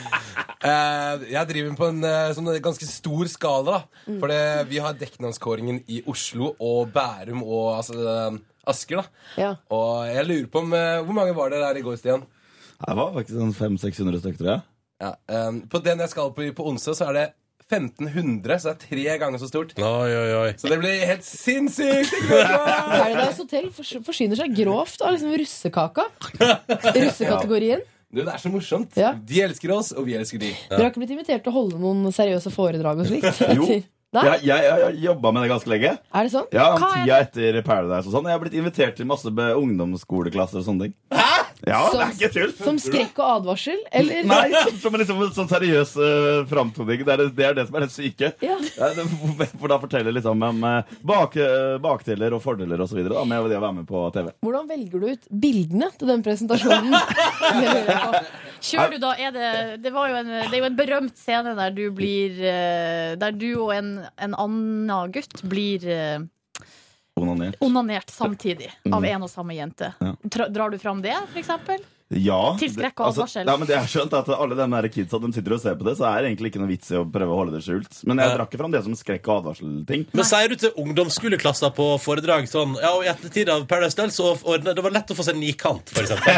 eh, jeg driver på en eh, sånn ganske stor skala. da. For det- vi har dekknavnskåringen i Oslo og Bærum og altså, eh, Asker. da. Og jeg lurer på om eh, Hvor mange var dere her i går, Stian?
Det var faktisk sånn 500-600 stykker, tror jeg.
Ja, eh, på den jeg skal på i- på onsdag, så er det 1500, så det er tre ganger så stort. Så det blir helt sinnssykt! ikke sant?
Paradise Hotel fors- forsyner seg grovt av liksom russekaka. Russekategorien.
Du, Det er så morsomt. De elsker oss, og vi elsker de.
Dere har ikke blitt invitert til å holde noen seriøse foredrag og slikt?
Jo.
Nei?
Jeg, jeg, jeg, jeg jobba med det ganske lenge.
Er det sånn?
Ja,
Hva er
Tida etter Paradise og sånn. Jeg har blitt invitert til masse be- ungdomsskoleklasser og sånne ting. Ja, det er ikke tull.
Som skrekk og advarsel? Eller?
Nei, som, som liksom en sånn seriøs uh, framtoning. Det er det, det er det som er det syke.
Ja.
Ja, det, for da forteller jeg liksom om eh, bak, eh, bakdeler og fordeler og så videre da, med det å være med på TV.
Hvordan velger du ut bildene til den presentasjonen?
Kjører du da, er det, det, var jo en, det er jo en berømt scene der du blir eh, Der du og en, en annen gutt blir eh,
Onanert.
onanert samtidig av
Mm.
en og samme jente.
Ja.
Tra, drar du fram det, for eksempel?
Ja.
Til skrekk og
det- altså,
advarsel.
ja, men det er skjønt at alle de der kidsa de sitter og ser på det, så er det egentlig ikke noe vits i å prøve å holde det skjult. Men jeg drakk ikke fram det som skrekk og advarsel-ting.
Men sier du til ungdomsskoleklasser på foredrag sånn Ja, og i ettertid av Paradise Hotel, så ordnet- det var lett å få seg en nikant, for eksempel.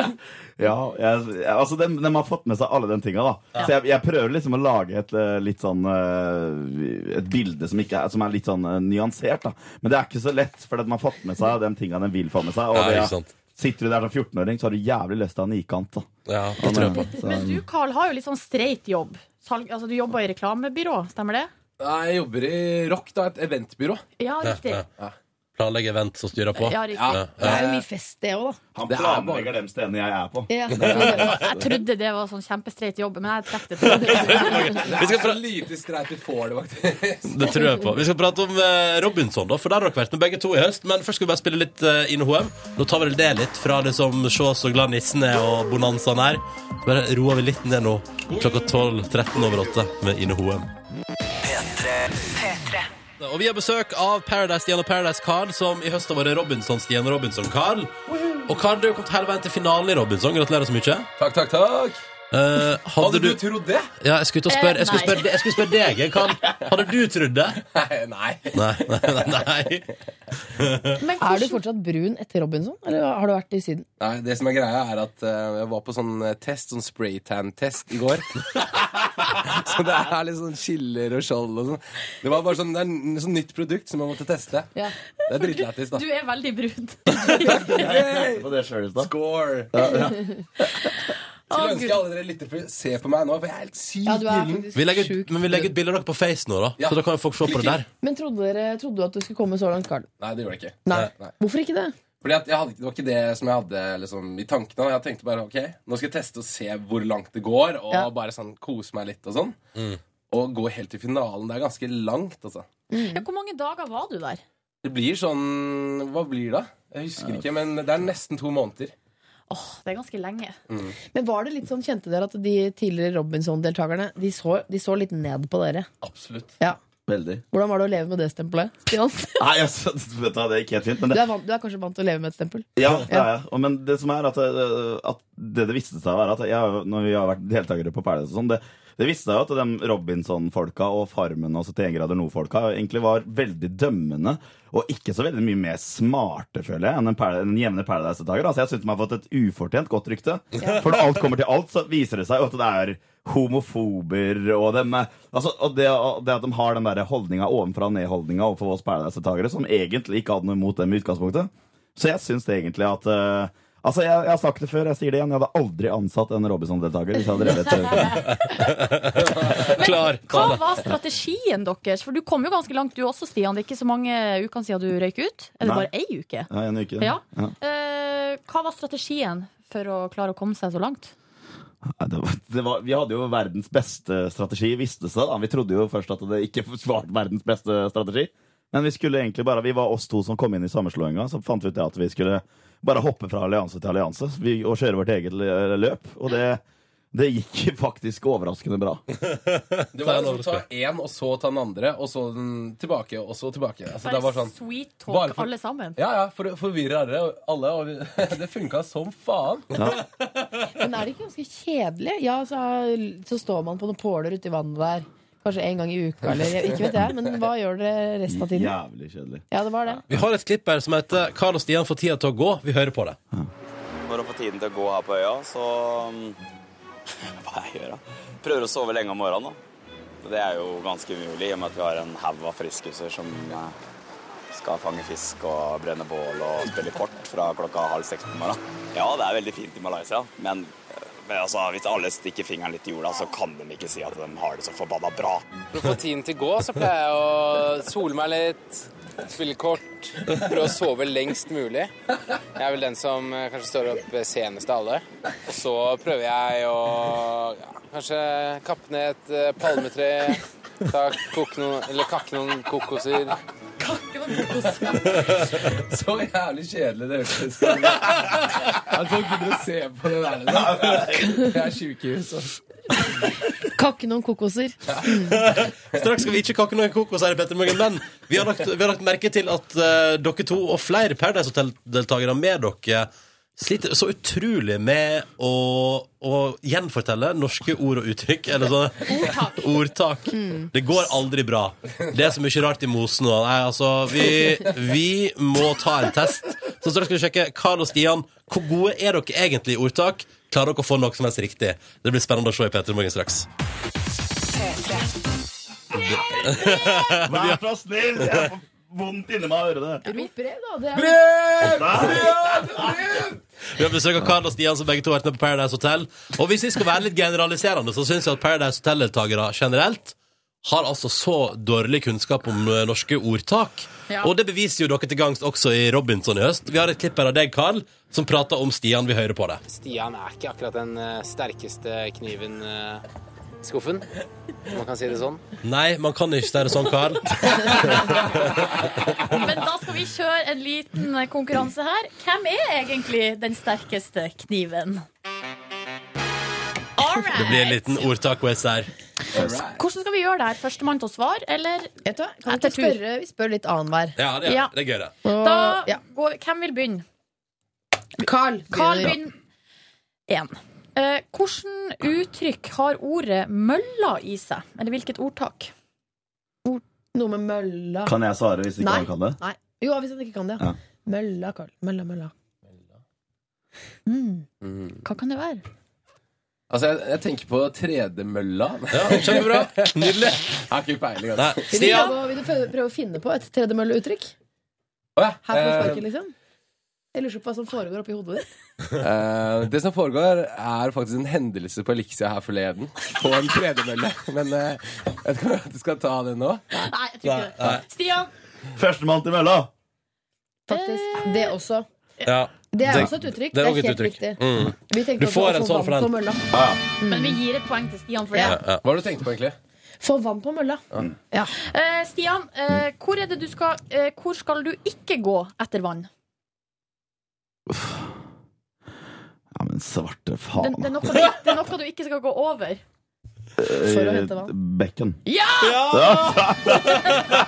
Ja, jeg, jeg- altså de, de har fått med seg alle de tinga, da.
Ja.
Så jeg, jeg prøver liksom å lage et eh, litt sånn eh, Et bilde som, ikke er, som er litt sånn eh, nyansert, da. Men det er ikke så lett, for at man har fått med seg de tinga de vil få med seg. Og
Ja, ikke
det,
sant.
sitter du der som 14-åring, så har du jævlig lyst til å ha nikant, da.
Ja, det tror jeg på.
Men du, Carl, har jo litt sånn streit jobb. Salg, altså, du jobber i reklamebyrå, stemmer det?
Nei, Jeg jobber i Rock, da, et eventbyrå.
Ja, riktig.
Ja.
Planlegge event som styrer på.
Ja, riktig.
Det er jo mye fest, det òg, da.
Han
Det er
planlegger de stedene jeg er på.
Ja.
Jeg trodde det var sånn kjempestreit jobb, men jeg trakk det tilbake.
Det er så lite streit vi får det, faktisk.
Det tror jeg på. Vi skal prate om eh, Robinson, da, for der har dere vært med begge to i høst. Men først skal vi bare spille litt eh, InHM. Nå tar vi vel det litt fra det som Sjås og glad nissen er, og bonanzaen her. Bare roer vi litt ned nå. Klokka 12.13 over 8 med InHM.
P3.
Og vi har besøk av Paradise-Stian og Paradise-Carl, som i høst har vært Robinson-Stian og Robinson-Carl. Og Carl, du har kommet hele veien til finalen i Robinson. Gratulerer så mye.
Takk, takk, takk.
Eh, hadde du
trodd det?
Ja, jeg skulle til å spørre, jeg skulle
Eh, nei.
spørre, jeg skulle spørre deg, jeg, Carl. Hadde du trodd det?
Nei.
Nei, nei, nei, nei.
Er du fortsatt brun etter Robinson, eller har du vært det siden?
Nei, det som er greia, er at eh, jeg var på sånn eh, test, sånn spraytan-test i går. så det er litt sånn skiller og skjold og sånn. Det var bare sånn, det er en sånn nytt produkt som jeg måtte teste.
Ja.
Det er dritlættis, da.
Du er veldig brun.
Jeg tenkte på det selv i stad.
Score!
Ja, ja.
Skulle ønske alle dere lytter for se på meg nå, for jeg er helt sykt
Ja, du er
gyllen.
faktisk
Vi legger ut, men vi legger ut bilder av dere på Face nå, da.
Ja.
Så da kan folk se på det der.
Men trodde, dere, trodde du at du skulle komme så langt, Karl?
Nei, det gjorde jeg ikke. Eh,
Nei.
Nei.
Hvorfor ikke det?
Fordi at jeg hadde, ikke- Det var ikke det som jeg hadde liksom, i tankene. Jeg tenkte bare ok, nå skal jeg teste og se hvor langt det går, og
Ja.
bare sånn kose meg litt og sånn.
Mm.
Og gå helt til finalen. Det er ganske langt, altså.
Ja, hvor mange dager var du der?
Det blir sånn Hva blir det? Jeg husker ikke, men det er nesten to måneder.
Det er ganske lenge.
Men var det litt sånn, kjente dere at de tidligere Robinson-deltakerne De, så- de så litt ned på dere?
Absolutt.
Ja.
Veldig.
Hvordan var det å leve med det stempelet, Stian?
Nei, altså, vet du, hva, det gikk helt fint.
Du
Men det,
er, vant, du er kanskje vant til å leve med et stempel?
Ja, det er jeg. Og- Men det som er at, eh, at det det viste seg å være at jeg, Når vi har vært deltakere på Paradise og sånn, det, det viste seg jo at de Robinson-folka og Farmen og 71 grader nord-folka egentlig var veldig dømmende og ikke så veldig mye mer smarte, føler jeg, enn en, Par- en jevne Paradise-deltaker. Altså, jeg syns de har fått et ufortjent godt rykte.
Ja.
For når alt kommer til alt, så viser det seg jo at det er homofober og dem eh, altså, og det, og det at de har den der holdninga ovenfra og ned-holdninga overfor oss Paradise-deltakere, som egentlig ikke hadde noe imot dem i utgangspunktet. Så jeg syns det egentlig at eh, Altså, jeg, jeg har sagt det før, jeg sier det igjen. Jeg hadde aldri ansatt en Robinson-deltaker hvis jeg hadde drevet eh,
Klar,
Hva var strategien deres? For du kom jo ganske langt du også, Stian. Det er ikke så mange ukene siden du røyk ut. Er det
Nei.
bare ei uke?
Ja, en uke.
Ja.
Ja.
Eh, hva var strategien for å klare å komme seg så langt?
Nei, det var, det var, vi hadde jo verdens beste strategi, visste seg. Da. Vi trodde jo først at det ikke var verdens beste strategi. Men vi skulle egentlig bare, vi var oss to som kom inn i sammenslåinga. Så fant vi ut det at vi skulle bare hoppe fra allianse til allianse vi, og kjøre vårt eget lø- løp. Og det, det gikk faktisk overraskende bra.
Det var liksom ta én, og så ta den andre, og så den tilbake, og så tilbake. Altså, det var sånn
sweet
Bare
talk,
for-
alle sammen.
Ja, ja, for å forvirre alle, alle og vi- det funka som faen.
Men er det ikke ganske kjedelig? Ja, så, så står man på noen påler uti vannet der. Kanskje en gang i uka, eller jeg- ikke vet jeg. Men hva gjør dere resten av tiden?
Jævlig kjedelig.
Ja, det var det.
Vi har et klipp her som heter 'Karl og Stian får tida til å gå'. Vi hører på det.
For å få tiden til å gå her på øya, så mm, Hva jeg gjør da? Prøver å sove lenge om morgenen, da. Det er jo ganske umulig i og med at vi har en haug av friskuser som eh, skal fange fisk og brenne bål og spille kort fra klokka halv seks på morgenen. Ja, det er veldig fint i Malaysia, men, eh, men altså, hvis alle stikker fingeren litt i jorda, så kan de ikke si at de har det så forbanna bra.
For å få tiden til å gå, så pleier jeg å sole meg litt, spille kort, prøve å sove lengst mulig. Jeg er vel den som eh, kanskje står opp senest av alle. Og så prøver jeg å ja, kanskje kappe ned et eh, palmetre, ta, koke noen, eller kakke noen kokoser.
Så jævlig kjedelig det hørtes ut. At folk gidder å se på det der. liksom. Det er sjukehus. altså.
Kakke noen kokoser.
Straks skal vi ikke kakke noen kokos her, i Petter Morgen, men vi har, lagt, vi har lagt merke til at eh, dere to og flere Paradise Hotel-deltakere med dere sliter så utrolig med å, å gjenfortelle norske ord og uttrykk. Eller sånn ordtak. Det går aldri bra. Det er så mye rart i mosen. Og, nei, altså, vi, vi må ta en test. Så straks skal vi sjekke Karl og Stian. Hvor gode er dere egentlig i ordtak? Klarer dere å få noe som helst riktig? Det blir spennende å se i Petter Morgen straks.
Vær så snill! Jeg får vondt inni meg av å høre det.
Rop brev, da. Det er...
Vi har besøk av Karl og Stian, som begge to har vært med på Paradise Hotel. Og hvis vi skal være litt generaliserende, så syns jeg at Paradise Hotel-deltakere generelt har altså så dårlig kunnskap om eh, norske ordtak.
Ja.
Og det beviser jo dere til gangst også i Robinson i høst. Vi har et klipp her av deg, Karl, som prater om Stian. Vi hører på det.
Stian er ikke akkurat den eh, sterkeste kniven eh, i skuffen, om man kan si det sånn.
Nei, man kan ikke si det sånn, Karl.
Men da skal vi kjøre en liten konkurranse her. Hvem er egentlig den sterkeste kniven?
Det blir en liten ordtak-quiz her.
Hvordan skal vi gjøre det her? Førstemann til å svare, eller
Kan vi, ikke spørre, vi spør litt annenhver.
Ja, det er, det er gøy, det.
Da går, hvem vil begynne?
Carl.
Carl begynn. Én. Eh, hvordan uttrykk har ordet 'mølla' i seg? Eller hvilket ordtak?
Noe med mølla.
Kan jeg svare hvis ikke
Nei.
han kan det?
Nei. Jo, hvis han ikke kan det. Ja.
Ja.
Mølla, Carl. Mølla, mølla.
Mm.
Mm.
Hva kan det være?
Altså, jeg, jeg tenker på tredemølla.
Ja, Kjempebra. Nydelig.
Jeg har ikke peiling. altså.
Vil du, prøve, å- vil du prøve, prøve å finne på et tredemølleuttrykk?
Å, ja.
Her på
Eh,
sparket, liksom? Jeg lurer på hva som foregår oppi hodet ditt.
Eh, det som foregår, er faktisk en hendelse på Elixia her forleden. På en tredemølle. Men eh, jeg vet ikke om du skal ta det nå.
Nei, jeg
tror ikke det.
Stian!
Førstemann til mølla!
Faktisk. Eh. Det også.
Ja.
Det er også et uttrykk.
Det er,
Det
også
er
et
helt
uttrykk.
riktig.
Mm.
Vi tenkte
Du
også
får
å
en
få
sånn for
vann på
den.
mølla.
Ja.
Men vi gir et poeng til Stian for det.
Hva var det du tenkte på, egentlig?
Få vann på mølla.
Eh, Stian, eh, hvor, er det du skal, eh, hvor skal du ikke gå etter vann?
Ja, men svarte
Det,
faen.
det, er noe du, det er noe du ikke skal gå over.
å hente
Eh,
vann.
Bekken.
Ja!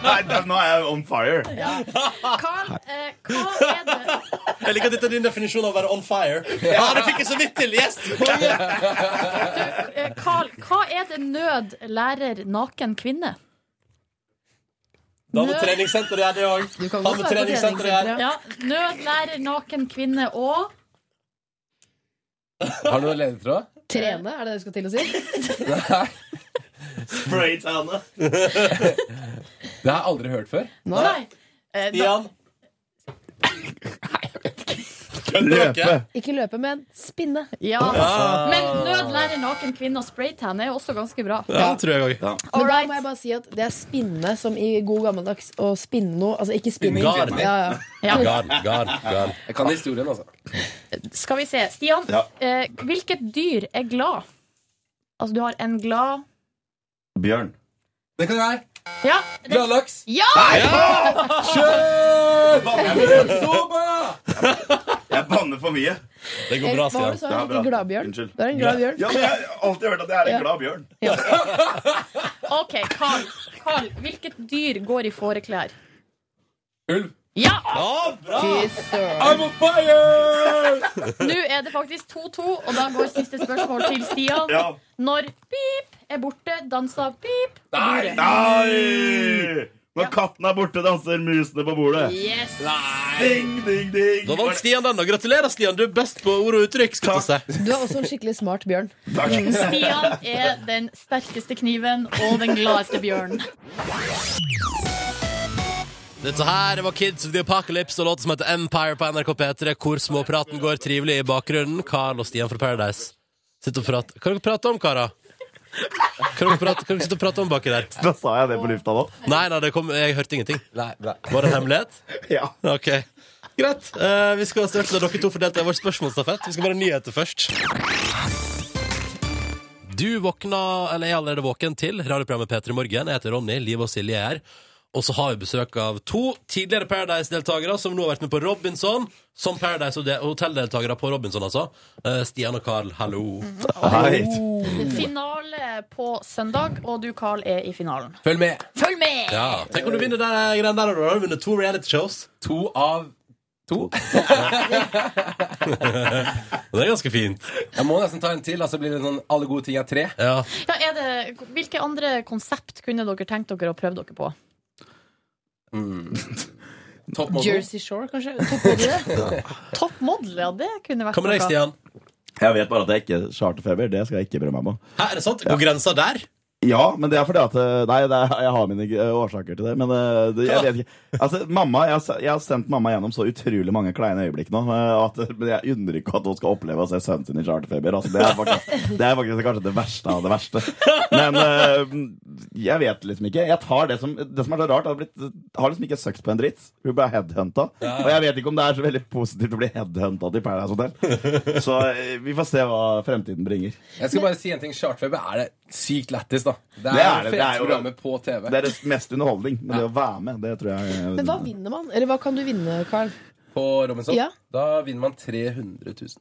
Nei, da- nå er jeg on fire.
Carl, eh, hva er det
Jeg liker at dette er din definisjon av å være on fire. Ja, det fikk jeg så vidt til! Yes!
eh, Carl, hva er det nød lærer naken kvinne?
Da med treningssenter er det òg. Da med treningssenter er
Ja, nød lærer naken kvinne og
Har du noen ledetråd?
Trene, er det det du skal til å si?
Spraytane.
Det har jeg aldri hørt før.
Nei.
Eh, da-
Stian.
Løpe.
Ikke løpe, men spinne.
Ja.
Ja.
Men nød lærer naken kvinne og spraytan er jo også ganske bra.
Ja, det tror jeg òg.
Men da må jeg bare si at det er spinne som i god gammeldags å spinne noe. Altså ikke spinning.
Garn.
eh?
Ja, ja.
Garn, garn, garn.
Jeg kan historien, altså.
Skal vi se. Stian,
Ja.
eh, hvilket dyr er glad? Altså, du har en glad
Bjørn.
Det kan jeg.
Ja!
Gladlaks.
Ja!
Kjør!
Jeg banner for mye.
Det
går bra, Eh, Hva var det Stian. du sa?
Ja,
En
bra.
gladbjørn?
Unnskyld.
Du er en glad bjørn.
Ja, men jeg har alltid hørt at jeg er
Ja.
en glad bjørn.
OK, Carl. Carl, hvilket dyr går i fåreklær?
Ulv.
Ja!
bra!
Fy søren.
I'm on fire!
Nå er det faktisk 2-2, og da går siste spørsmål til Stian.
Ja.
Når pip er borte, danser pip på
Nei!
bordet.
Nei! Når katten er borte, danser musene på bordet.
Yes.
Ding, ding, ding.
Da vant Stian den, da. Gratulerer, Stian. Du er best på ord og uttrykk. Skal vi se.
Du er også en skikkelig smart bjørn.
Stian er den sterkeste kniven og den gladeste bjørnen.
Dette her var Kids of the Apocalypse og låten som heter Empire på NRK P3, hvor småpraten går trivelig i bakgrunnen. Carl og Stian fra Paradise sitter og prater. Hva er det dere prater om, karer? Hva er det dere prater- hva er det dere sitter og prater om baki der?
Da sa jeg det på lufta nå.
Nei, nei, det kom, jeg hørte ingenting. Var det en hemmelighet?
Ja.
Ok. Greit. Eh, vi skal straks la dere to få delta i vår spørsmålsstafett. Vi skal bare ha nyheter først. Du våkna, eller er allerede våken, til radioprogrammet P3 Morgen. Jeg heter Ronny. Liv og Silje er her. Og så har vi besøk av to tidligere Paradise-deltakere som nå har vært med på Robinson. Som Paradise- og de- hotelldeltakere på Robinson, altså. Eh, Stian og Carl, hallo.
Hei.
Finale på søndag, og du, Carl, er i finalen.
Følg med.
Følg med!
Ja, Tenk om du vinner den greia der, og du har vunnet to reality shows.
To av to.
det er ganske fint.
Jeg må nesten ta en til, altså blir det sånn alle gode ting er tre.
Ja.
Ja, er det, hvilke andre konsept kunne dere tenkt dere å prøve dere på?
Top
Jersey Shore, kanskje? Toppmodell?
Toppmodell, ja. Det kunne vært
Hva med deg,
noe.
Stian?
Jeg vet bare at jeg ikke charterfeber. Det skal jeg ikke bry meg om.
Hæ, er det sant? Går grensa der?
Ja, men det er fordi at eh, Nei, det er, jeg har mine eh, årsaker til det, men eh, det, jeg vet ikke. Altså, mamma, jeg, har se- jeg har sendt mamma gjennom så utrolig mange kleine øyeblikk nå, eh, at, men jeg unner ikke at hun skal oppleve å se sønnen sin i charterfeber. Altså, det, er faktisk, det er faktisk kanskje det verste av det verste. Men eh, jeg vet liksom ikke. Jeg tar det som, det som er så rart, er blitt, har liksom ikke søkt på en dritt. Hun ble headhunta.
Ja.
Og jeg vet ikke om det er så veldig positivt å bli headhunta til Paradise Hotel. Så eh, vi får se hva fremtiden bringer.
Jeg skal bare si en ting. Chartfeber er det sykt lættis, da. Det er,
Det er
det
det, det er
feteste
jo-
programmet på TV.
Det er det mest underholdning, men det å være med, det tror jeg
Men hva vinner man? Eller hva kan du vinne, Carl?
På Robinson.
Ja.
Da vinner man 300 000.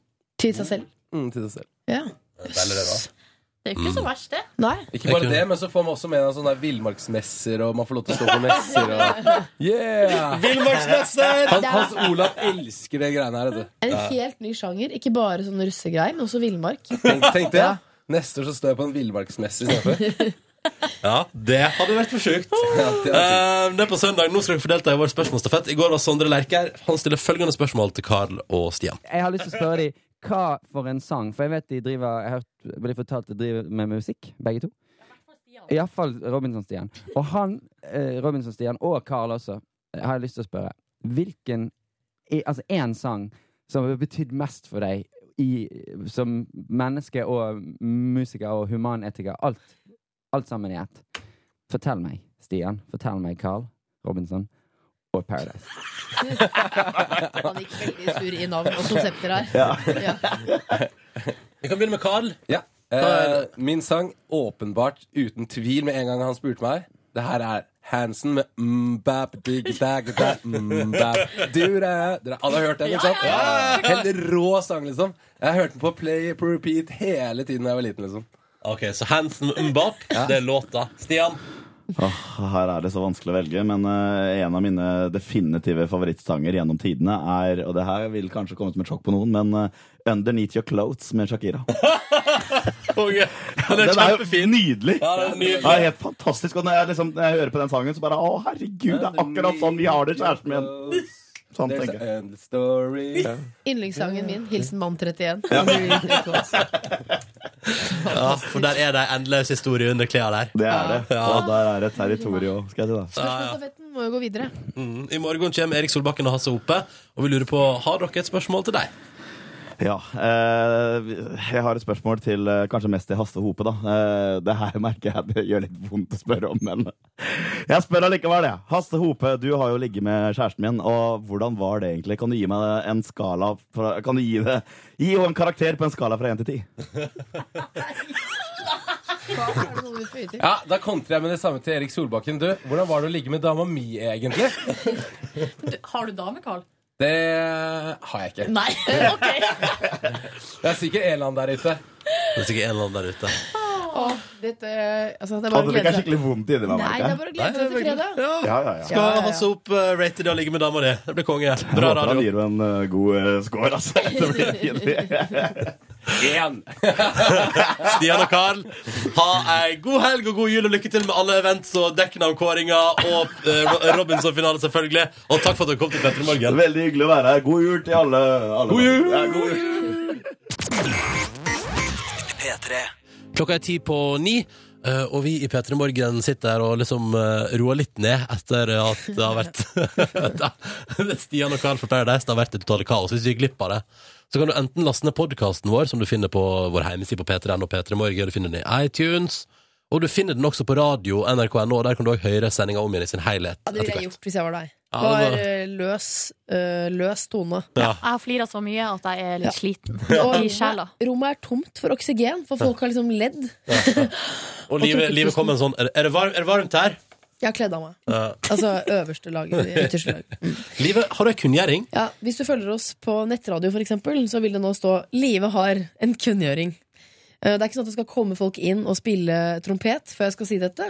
Til seg selv.
Mm, til seg selv.
Ja.
Det er jo ikke
Mm.
så verst, det.
Nei.
Ikke bare det, men så får man også med en sånne villmarksmesser, og man får lov til å stå på messer og Yeah!
Villmarksmesser!
Han- Hans Olav elsker det greiene her, vet du.
En helt ny sjanger. Ikke bare sånn russegreier, men også villmark.
Tenk, tenk det. Neste år så står jeg på en villmarksmesse istedenfor.
Ja, det hadde vært for sjukt.
det,
Ehm,
Eh, det er på søndag. Nå skal dere få delta i vår spørsmålsstafett. I går var Sondre Lerker. Han stiller følgende spørsmål til Carl og Stian.
Jeg har lyst til å spørre dem hva for en sang, for jeg vet de driver Jeg har hørt ble fortalt de driver med musikk, begge to. Iallfall Robinson-Stian. Og han, eh, Robinson-Stian, og Carl også, eh, har jeg lyst til å spørre. Hvilken i- altså én sang som har betydd mest for deg i, som menneske og musiker og humanetiker? Alt, alt sammen i ett. Fortell meg, Stian. Fortell meg, Carl Robinson. Og Paradise.
Han gikk veldig sur i navn og konsepter her. Ja.
Vi kan begynne med Carl.
Ja. Eh, min sang, åpenbart, uten tvil, med en gang han spurte meg Det her er Hansen med mm, mbap, dig, dag, da, mbap, mm, du, da. Dere alle har hørt den, ikke sant? Helt rå sang, liksom. Jeg hørte den på play på repeat hele tiden da jeg var liten. liksom
Ok, Så Hansen med mbap, det er låta. Stian?
Åh, her er det så vanskelig å velge, men eh, en av mine definitive favorittsanger gjennom tidene er Og det her vil kanskje komme som et sjokk på noen, men eh, 'Underneath Your Clothes' med Shakira.
Den er
kjempefin. Nydelig.
Ja, den er nydelig.
Ja, helt fantastisk. Og når jeg, liksom, når jeg hører på den sangen, så bare Å, herregud, det er akkurat sånn vi har det, kjæresten min. Sånn
There's
tenker jeg.
an end story.
Yndlingssangen min. Hilsen mann 31.
Ja, for der er det ei endeløs historie under klærne der.
Det er det.
Ja.
Og der er det territorium, skal jeg si
Ja, ja.
Stafetten må jo gå videre.
Mm. I morgen kommer Erik Solbakken og Hasse Hope, og vi lurer på har dere et spørsmål til deg.
Ja. Eh, jeg har et spørsmål til eh, kanskje mest til Hasse Hope, da. Eh, det her merker jeg det gjør litt vondt å spørre om, men jeg spør allikevel, jeg. Hasse Hope, du har jo ligget med kjæresten min, og hvordan var det egentlig? Kan du gi meg en skala fra, Kan du gi det Gi henne en karakter på en skala fra én til ti.
Ja, Da kontrer jeg med det samme til Erik Solbakken. Du, Hvordan var det å ligge med dama mi, egentlig?
Har du dame, Eh, Carl?
Det har jeg ikke.
Nei.
Det er sikkert en eller annen der ute.
Det er sikkert en eller annen der ute.
Åh, dette, altså, det er bare
Altså,
å
det
glede
er
seg.
skikkelig vondt inni meg.
Nei, det er
merker jeg.
bare å glede seg til fredag.
Ja, ja, ja.
Skal Hasse Hope eh, rate det å ligge med dama di? Det blir konge.
Jeg
Bra
håper han
radio.
gir henne en eh, god eh, score, altså. Det blir fint.
Én!
Stian og Karl, ha ei god helg og god jul, og lykke til med alle events og dekknavnkåringer og eh, Ro- Robinson-finale, selvfølgelig. Og takk for at dere kom til Petter i morgen.
Veldig hyggelig å være her. God jul til alle. alle.
God jul!
Ja, god jul.
P3.
Klokka er ti på ni, eh, og vi i P3 Morgen sitter her og liksom eh, roer litt ned etter at det har vært Stian og Karl for Paradise, det har vært det totale kaos. Hvis du gikk glipp av det, så kan du enten laste ned podkasten vår, som du finner på vår hjemmeside på p3.no og P3 Morgen, du finner den i iTunes, og du finner den også på radio nrk.no, og der kan du òg høre sendinga om igjen i sin helhet.
Ja, det ville jeg gjort hvis jeg var deg.
Ja,
Var
det var-
eh, løs, eh, løs tone.
Ja.
Jeg har flira så mye at jeg er litt sliten
Og
i sjela.
rommet er tomt for oksygen, for folk har liksom ledd.
Og livet, livet kom en sånn Er er det, varm, er det varmt her?
Jeg har kledd av meg.
Ja.
Altså øverste lag. Ytterste lag.
Eh, Livet, har du ei kunngjøring?
Ja, hvis du følger oss på nettradio, for eksempel, så vil det nå stå 'Live har en kunngjøring'. Eh, Det er ikke sånn at det skal komme folk inn og spille trompet før jeg skal si dette,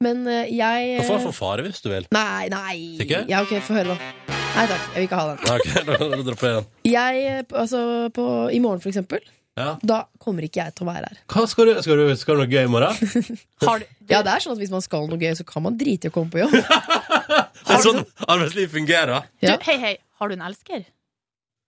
men eh, jeg
Du får forfare hvis du vil.
Nei, nei.
Sikker?
Ja, ok, Få høre, da. Nei takk, jeg vil ikke ha den.
Ja, Ok, da da dropper jeg den.
Jeg, eh, p- altså, på, I morgen, for eksempel,
Ja.
da kommer ikke jeg til å være her.
Hva skal du, skal du, skal du noe gøy i morgen?
Ja, det er sånn at Hvis man skal noe gøy, så kan man drite i å komme på jobb.
Det er sånn arbeidsliv fungerer.
Du, hei, hei, har du en elsker?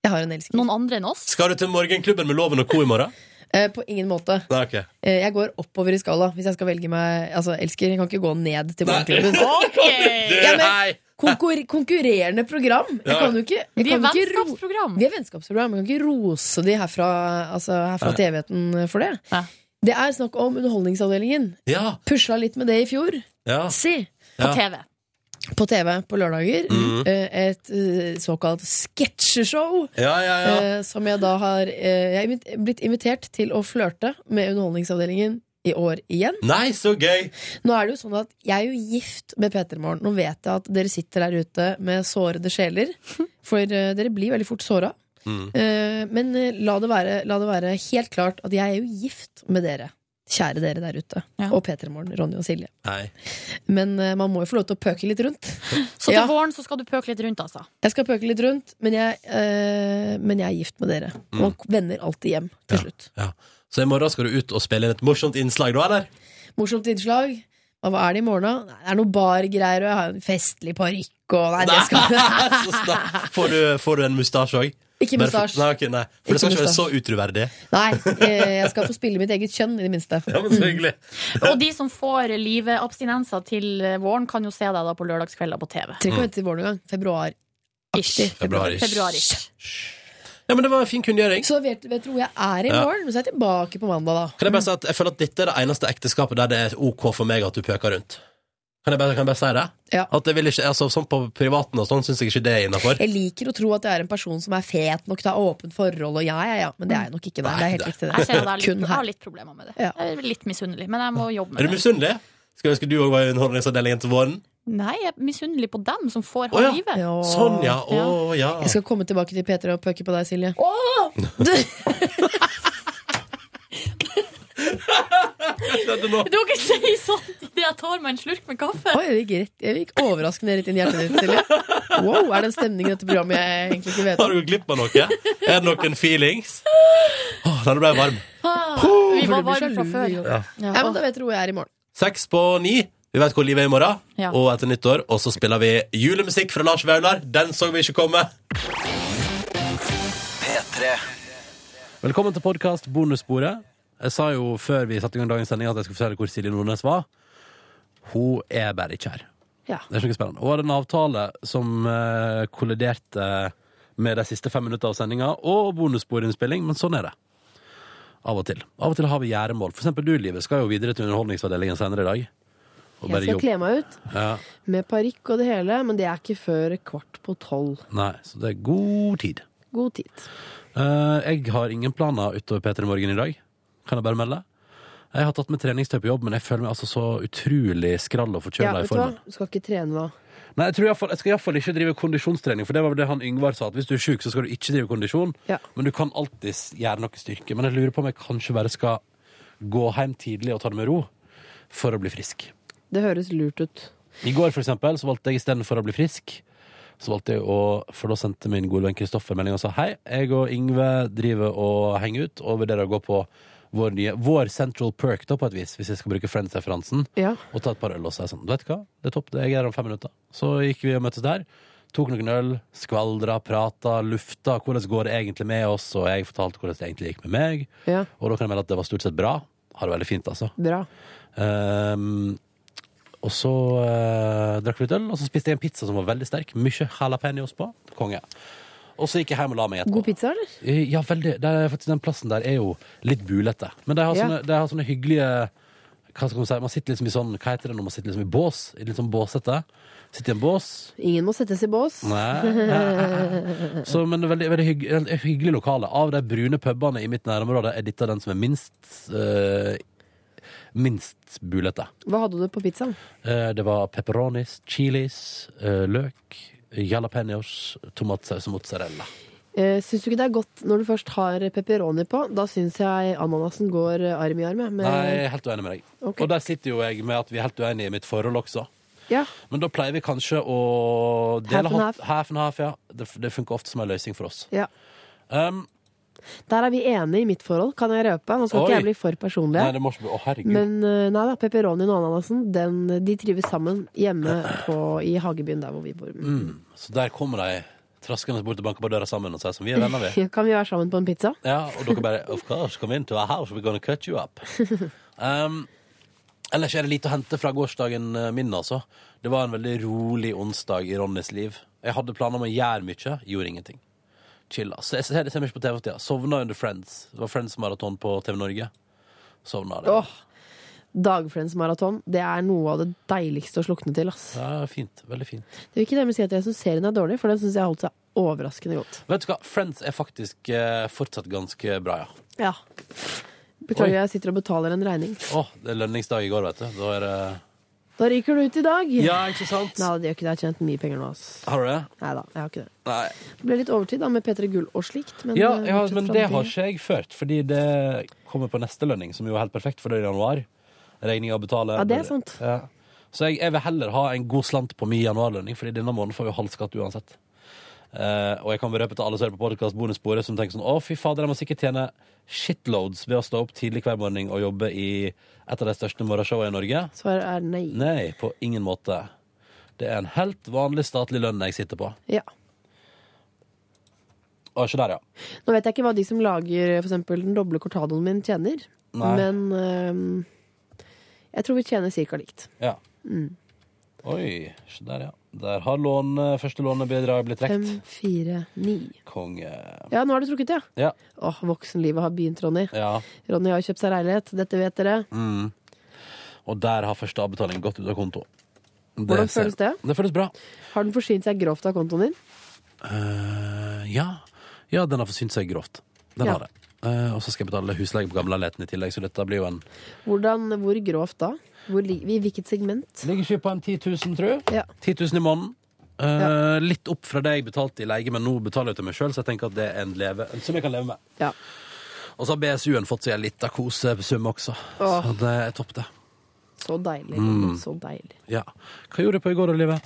Jeg har en elsker.
Noen andre enn oss?
Skal du til morgenklubben med Loven og co. i morgen?
Eh, På ingen måte.
Nei, ok.
Eh, Jeg går oppover i skala hvis jeg skal velge meg Altså, elsker. Jeg kan ikke gå ned til barneklubben.
Du,
Ja, men-
hei!
Konkur konkurrerende program! Jeg
Ja.
kan jo ikke jeg
Vi er
kan ikke ro-
vennskapsprogram.
Vi er vennskapsprogram. Jeg kan ikke rose de herfra, altså, herfra
Nei.
TV-en for det.
Nei.
Det er snakk om Underholdningsavdelingen.
Ja.
Pusla litt med det i fjor.
Ja.
Si!
Ja.
På TV på lørdager.
Mhm.
eh, Et eh, såkalt sketsjeshow.
Ja, ja, ja.
Eh, som jeg da har eh, Jeg er invit- blitt invitert til å flørte med Underholdningsavdelingen i år igjen.
Nei, så gøy!
Nå er det jo sånn at Jeg er jo gift med Peter Morgen. Nå vet jeg at dere sitter der ute med sårede sjeler. For eh, dere blir veldig fort såra.
Mm.
Eh, men eh, la det, være, la det være helt klart at jeg er jo gift med dere. Kjære dere der ute. Og Peter Morgen, Ronny og Silje.
Nei.
Men eh, man må jo få lov til å pøke litt rundt.
Så til
Ja.
våren så skal du pøke litt rundt, altså.
Jeg skal pøke litt rundt, men jeg, eh, men jeg er gift med dere.
Mm.
Og vender alltid hjem til slutt.
Ja. Så i morgen skal du ut og spille inn et morsomt innslag, da, eller?
Morsomt innslag. Og Hva er det i morgen, da? Nei, Det er noe bargreier, og jeg har en festlig parykk og Nei, det skal
Så snart får, du, får du en mustasje òg?
Ikke mustasje.
Nei, ok, nei. For det skal
Ikke
ikke være så utruverdig.
Nei, eh, jeg skal få spille mitt eget kjønn, i det minste.
Ja, men så hyggelig.
Og de som får eh, liveabstinenser til våren, kan jo se deg da på lørdagskvelder på TV.
Trenger ikke å vente til våren engang. Februar Ish.
Februarish.
Februarish.
Ja, men det var en fin kunngjøring.
Så vet, vet du hvor jeg er i
Ja.
morgen? Men så er jeg tilbake på mandag, da.
Kan jeg bare si at jeg føler at dette er det eneste ekteskapet der det er OK for meg at du pøker rundt. Kan jeg bare, kan jeg bare si det? At jeg vil ikke, altså, sånn på privaten og sånn syns jeg ikke det er innafor.
Jeg liker å tro at jeg er en person som er fet nok til å ha åpent forhold, og ja, ja, ja. Men det er jeg nok ikke. Det, det er helt riktig, det.
Jeg kjenner at jeg har
Kun
litt-
her.
har litt problemer med det. Jeg er litt misunnelig, men jeg må jobbe med
Er du
det.
misunnelig? Skulle ønske du òg var i Underholdningsavdelingen til våren.
Nei, jeg er misunnelig på dem som får ha
Å ja.
livet.
Sånn, ja. Å ja.
Jeg skal komme tilbake til Peter og pøke på deg, Silje.
Du kan ikke si sånn idet jeg tar meg en slurk med kaffe.
Oi, det gikk, rett, det gikk overraskende rett inn i hjertet ditt, Silje. Wow, er det en stemning i dette programmet jeg egentlig ikke vet
Har du gått glipp av noe? Er det noen feelings? Åh, den ble varm.
Ah,
vi var
for du blir
varme fra
sjalu,
før.
jo.
Ja.
Nei, men da vet dere hvor jeg er i morgen.
Seks på ni. Vi vet hvor livet er i morgen.
Ja.
Og etter nyttår. Og så spiller vi julemusikk fra Lars Vaular. Den så vi ikke komme.
P3
Velkommen til podkast Bonussporet. Jeg sa jo før vi satte i gang dagens sending at jeg skulle fortelle hvor Silje Nordnes var. Hun er bare ikke her.
Ja.
Det er ikke noe spennende. Hun hadde en avtale som eh, kolliderte med de siste fem minutter av sendinga og bonussporinnspilling, men sånn er det. Av og til. Av og til har vi gjerdemål. For eksempel du, Livet, skal jo videre til Underholdningsavdelingen senere i dag. Og
Jeg
bare
skal
jobb-
kle meg ut
Ja.
med parykk og det hele, men det er ikke før kvart på tolv.
Nei, så det er god tid.
God tid.
Eh, jeg har ingen planer utover P3 Morgen i dag. Kan jeg bare melde? Jeg har tatt med treningstøy på jobb, men jeg føler meg altså så utrolig skrall og
Ja,
forkjøla i
vet du hva?
formen.
Du skal ikke trene hva?
Nei, jeg, tror i hvert fall- jeg skal iallfall ikke drive kondisjonstrening, for det var vel det han Yngvar sa, at hvis du er sjuk, så skal du ikke drive kondisjon, men du kan alltids gjøre noe styrke. Men jeg lurer på om jeg kanskje bare skal gå hjem tidlig og ta det med ro for å bli frisk.
Det høres lurt ut.
I går, for eksempel, så valgte jeg istedenfor å bli frisk så valgte jeg å, For da sendte min gode venn Kristoffer melding og sa hei, jeg og Yngve driver og henger ut og vurderer å gå på vår nye Vår Central Perk, da, på et vis, hvis jeg skal bruke Friends-referansen,
Ja.
og ta et par øl. Og så er jeg sånn, du vet hva, det er topp, jeg er her om fem minutter. Så gikk vi og møttes der. Tok noen øl, skvaldra, prata, lufta. Hvordan går det egentlig med oss? Og jeg fortalte hvordan det egentlig gikk med meg.
Ja.
Og da kan jeg melde at det var stort sett bra. Har det veldig fint, altså.
Bra.
Ehm, og så eh, drakk vi litt øl, og så spiste jeg en pizza som var veldig sterk. Mye jalapeños på. Konge. Og så gikk jeg hjem og la meg etterpå.
God pizza, eller?
Eh, Ja, veldig. Det er faktisk, den plassen der er jo litt bulete. Men de har
Ja.
sånne, de har sånne hyggelige Hva skal man si? Man sitter liksom i sånn Hva heter det når man sitter liksom i bås? I litt sånn båsete. Sitter i en bås.
Ingen må settes i bås.
Nei. Så, men veldig, veldig hygg, veldig hyggelig lokale. Av de brune pubene i mitt nærområde er dette den som er minst eh, Minst bulete.
Hva hadde du på pizzaen?
Eh, Det var pepperonis, chilis, eh, løk, jalapeños, tomatsaus og mozzarella.
Uh, syns du ikke det er godt når du først har pepperoni på? Da syns jeg ananasen går eh, arm i arm. jeg, Med...
Nei, jeg er helt uenig med deg. Og der sitter jo jeg med at vi er helt uenige i mitt forhold også.
Ja.
Men da pleier vi kanskje å
Half
dele
and
half. half and half. Ja. Det, det funker ofte som en løsning for oss.
Ja.
Um,
Der er vi enige i mitt forhold, kan jeg røpe. Nå skal
Oi.
ikke jeg bli for personlig.
nei, det må ikke bli Å, herregud.
Men eh, nei da, pepperonien og ananasen den, de trives sammen hjemme på, i hagebyen der hvor vi bor.
Mm. Så der kommer de traskende bort og banker på døra sammen og sier som vi er venner, vi.
kan vi være sammen på en pizza?
Ja, og dere bare Of course, come into our house, we're gonna cut you up. Um, ellers er det lite å hente fra gårsdagen eh, min, altså. Det var en veldig rolig onsdag i Ronnys liv. Jeg hadde planer om å gjøre mye, gjorde ingenting. Chill, altså. Jeg ser, jeg ser mye på TV for tida. Sovna under Friends. Det var Friends-maraton på TV Norge. Sovna det.
Åh, Dagfriends-maraton, det er noe av det deiligste å slukne til, ass.
Ja, fint. Veldig fint.
Det vil ikke nemlig si at jeg syns serien er dårlig, for den syns jeg holdt seg overraskende godt.
Vet du hva, Friends er faktisk eh, fortsatt ganske bra, ja.
Ja. Beklager,
Oi.
jeg sitter og betaler en regning.
Åh, det er lønningsdag i går, vet du. Da er det
Da ryker du ut i dag.
Ja, ikke sant?
Nei, det gjør ikke det. Jeg har tjent mye penger nå, ass.
Har du det?
Nei da, jeg har ikke det.
Nei.
Det ble litt overtid da med P3 Gull og slikt. Men,
ja,
eh,
ja,
bortsett
men
fra
det har ikke jeg ført, fordi det kommer på neste lønning, som jo er helt perfekt, for det er i januar. Regninga å betale.
Ja, det er sant.
Ja. Så jeg, jeg vil heller ha en god slant på min januarlønning, fordi denne måneden får vi halv skatt uansett. Eh, og jeg kan berøpe til alle som hører på podkast bonussporet, som tenker sånn Å, fy fader, jeg må sikkert tjene shitloads ved å stå opp tidlig hver morgen og jobbe i et av de største morgenshowene i Norge.
Svaret er nei.
Nei, på ingen måte. Det er en helt vanlig statlig lønn jeg sitter på.
Ja.
Og ikke der, ja.
Nå vet jeg ikke hva de som lager for eksempel den doble cortadoen min tjener,
Nei.
men ehm, eh, jeg tror vi tjener cirka likt.
Ja.
Mm.
Oi, se der, ja. Der har lån, eh, første lånebidrag blitt
Fem,
trukket.
fire, ni.
Konge.
Ja, nå har du trukket, ja.
Ja.
Åh, voksenlivet har begynt, Ronny.
ja.
Ronny har kjøpt seg leilighet, dette vet dere.
Mm. Og der har første avbetaling gått ut av konto.
Hvordan
ser-
føles det?
Det føles bra.
Har den forsynt seg grovt av kontoen din?
Eh, ja. ja, den har forsynt seg grovt. Den
Ja.
har det. Eh, og så skal jeg betale husleie på gamleleiligheten i tillegg, så dette blir jo en
Hvordan, hvor grovt da? Hvor, li- I hvilket segment?
Ligger ikke på en 10 000, tror jeg.
Ja.
10 000 i måneden. Eh, Litt opp fra det jeg betalte i leie, men nå betaler jeg til meg sjøl, så jeg tenker at det er en leve, som jeg kan leve med.
Ja.
Og så har BSU-en fått seg en lita kosesum også, så
Åh.
det er topp, det.
Så deilig.
Mm.
Så deilig.
Ja. Hva gjorde du på i går, Olive?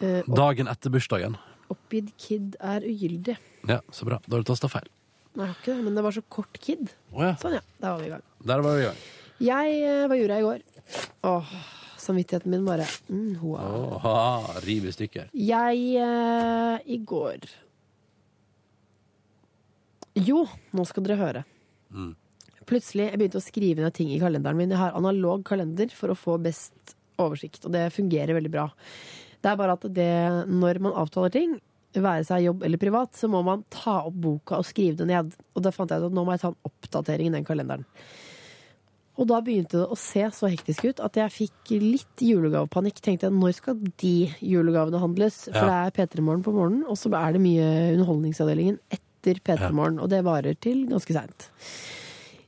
Eh, opp,
Dagen etter bursdagen.
oppgitt kid er ugyldig.
Ja, så bra. Da har du tasta feil.
Nei, jeg har ikke det, men det var så kort kid.
Å ja.
Sånn, ja. Da var vi i gang.
Der var vi i gang.
Jeg, eh, hva gjorde jeg i går? Åh, samvittigheten min bare mm, wow.
Åh, riv i stykker.
Jeg eh, i går Jo, nå skal dere høre.
Mm.
Plutselig jeg begynte å skrive ned ting i kalenderen min. Jeg har analog kalender for å få best oversikt, og det fungerer veldig bra. Det er bare at det, når man avtaler ting, være seg jobb eller privat, så må man ta opp boka og skrive det ned. Og da fant jeg ut at nå må jeg ta en oppdatering i den kalenderen. Og da begynte det å se så hektisk ut at jeg fikk litt julegavepanikk. Tenkte jeg, når skal de julegavene handles? For
Ja.
det er P3 Morgen på morgenen, og så er det mye Underholdningsavdelingen etter P3 Morgen. Og det varer til ganske seint.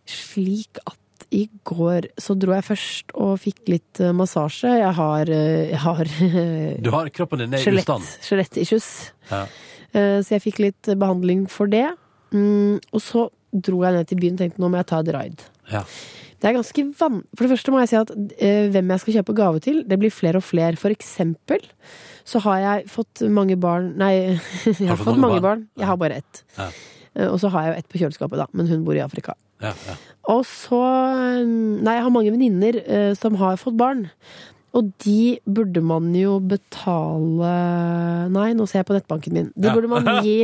Slik at i går så dro jeg først og fikk litt eh, massasje. Jeg har, eh, jeg har
Du har kroppen din er i
skjelett-
ustand.
skjelettissues.
Ja.
Eh, Så jeg fikk litt behandling for det. Mm, Og så dro jeg ned til byen og tenkte nå må jeg ta et ride.
Ja.
Det er ganske van... For det første må jeg si at eh, hvem jeg skal kjøpe gave til, det blir flere og flere. For eksempel så har jeg fått mange barn Nei, jeg har fått mange barn. Jeg har bare ett.
Ja.
Eh, Og så har jeg jo ett på kjøleskapet, da, men hun bor i Afrika.
Ja, ja.
Og så eh, Nei, jeg har mange venninner eh, som har fått barn. Og de burde man jo betale Nei, nå ser jeg på nettbanken min. De
Ja.
burde man gi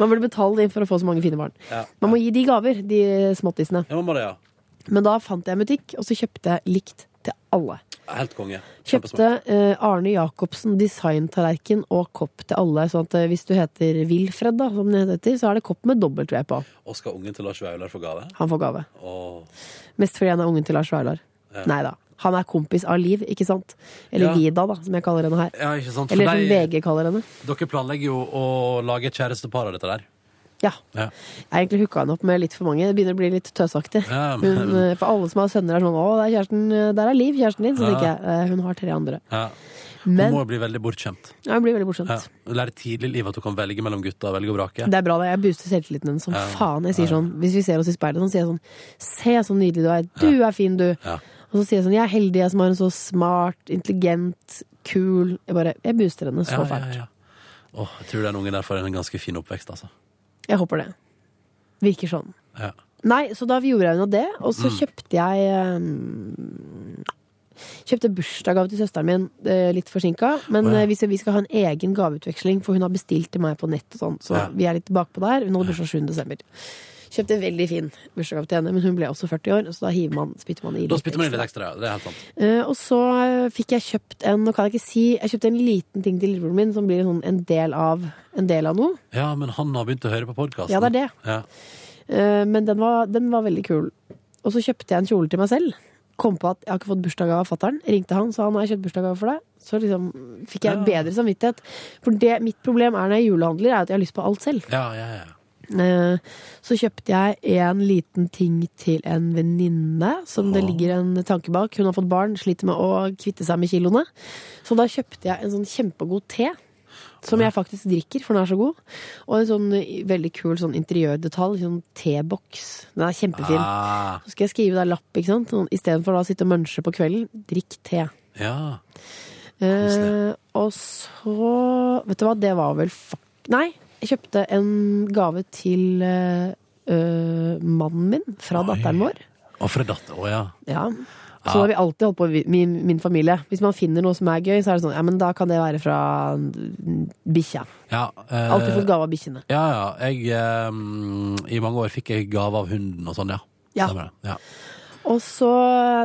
Man burde betale dem for å få så mange fine barn.
Ja.
Man må gi de gaver, de småttisene.
Ja, man må det, ja.
Men da fant jeg en butikk, og så kjøpte jeg likt til alle.
Helt konge.
Kjøpte eh, Arne Jacobsen designtallerken og kopp til alle. Sånn at eh, hvis du heter Wilfred, da, som det heter, så er det kopp med dobbelt V på.
Og skal ungen til Lars Vaular få gave?
Han får gave.
Åh.
Mest fordi han er ungen til Lars Vaular.
Ja.
Nei da. Han er kompis av Liv, ikke sant? Eller
Ja.
Vida, da, som jeg kaller henne her.
Ja, ikke sant? For
Eller som
de-
VG kaller henne.
Dere planlegger jo å lage et kjærestepar av dette der.
Ja.
Ja.
Jeg har egentlig hooka henne opp med litt for mange. Det begynner å bli litt tøsaktig.
Ja, men-
Hun, eh, for alle som har sønner, er sånn 'Å, der er, kjæresten, eh, der er Liv, kjæresten din'. Så
Ja.
tenker jeg eh, hun har tre andre.
Ja. Hun
Men-
må jo bli veldig bortskjemt.
Ja, hun blir veldig bortskjemt.
Ja. Lære tidlig i livet at du kan velge mellom gutta og velge og vrake.
Det er bra, det. Jeg booster selvtilliten hennes som
Ja.
faen. Jeg sier sånn, Hvis vi ser oss i speilet, sånn, sier jeg sånn Se så nydelig du er. Du er fin, du.
Ja.
Og så sier jeg sånn Jeg er heldig, jeg som har en så smart, intelligent, kul Jeg bare Jeg booster henne så
Ja, ja,
fælt.
ja. Åh, jeg tror den ungen der får en ganske fin oppvekst, altså.
Jeg håper det. Virker sånn.
Ja.
Nei, så da gjorde jeg noe det, og så
Mm.
kjøpte jeg eh, Kjøpte bursdagsgave til søsteren min, eh, litt forsinka. Men
Å, ja.
eh, vi, skal, vi skal ha en egen gaveutveksling, for hun har bestilt til meg på nett. og sånn Så
Ja.
vi er litt bakpå der. Hun hadde bursdag 7. desember. Kjøpte en veldig fin bursdagsgave til henne, men hun ble også 40 år, så da hiver man, spytter man i
Da spytter man inn litt ekstra, ja. Det er helt sant.
Eh, og så eh, fikk jeg kjøpt en Nå kan jeg ikke si Jeg kjøpte en liten ting til lillebroren min som blir en sånn en del av, en del av noe.
Ja, men han har begynt å høre på podkasten.
Ja, det er det.
Ja.
Eh, Men den var, den var veldig kul. Og så kjøpte jeg en kjole til meg selv. Kom på at jeg har ikke fått bursdagsgave av fatter'n. Ringte han, sa han har jeg kjøpt bursdagsgave for deg. Så liksom fikk jeg
Ja.
bedre samvittighet. For det, mitt problem er når jeg julehandler, er at jeg har lyst på alt selv.
Ja, ja, ja.
Eh, Så kjøpte jeg en liten ting til en venninne som det ligger en tanke bak. Hun har fått barn, sliter med å kvitte seg med kiloene. Så da kjøpte jeg en sånn kjempegod te. Som jeg faktisk drikker, for den er så god. Og en sånn veldig kul sånn interiørdetalj. Sånn teboks. Den er kjempefin.
Ah.
Så skal jeg skrive deg lapp, ikke sant. Sånn, Istedenfor da å sitte og munche på kvelden. Drikk te.
ja.
Eh, og så Vet du hva, det var vel fuck Nei, jeg kjøpte en gave til eh, eh, mannen min fra datteren vår.
Og for en datter. Å, ja.
Ja.
Ja.
Så har vi alltid holdt på i min, min familie. Hvis man finner noe som er gøy, så er det sånn Ja, men da kan det være fra mm, bikkja.
Ja, eh,
Alltid fått gave av bikkjene.
Ja, ja. Jeg, eh, I mange år fikk jeg gave av hunden og sånn, ja.
Ja.
Stemmer det. Ja.
Og så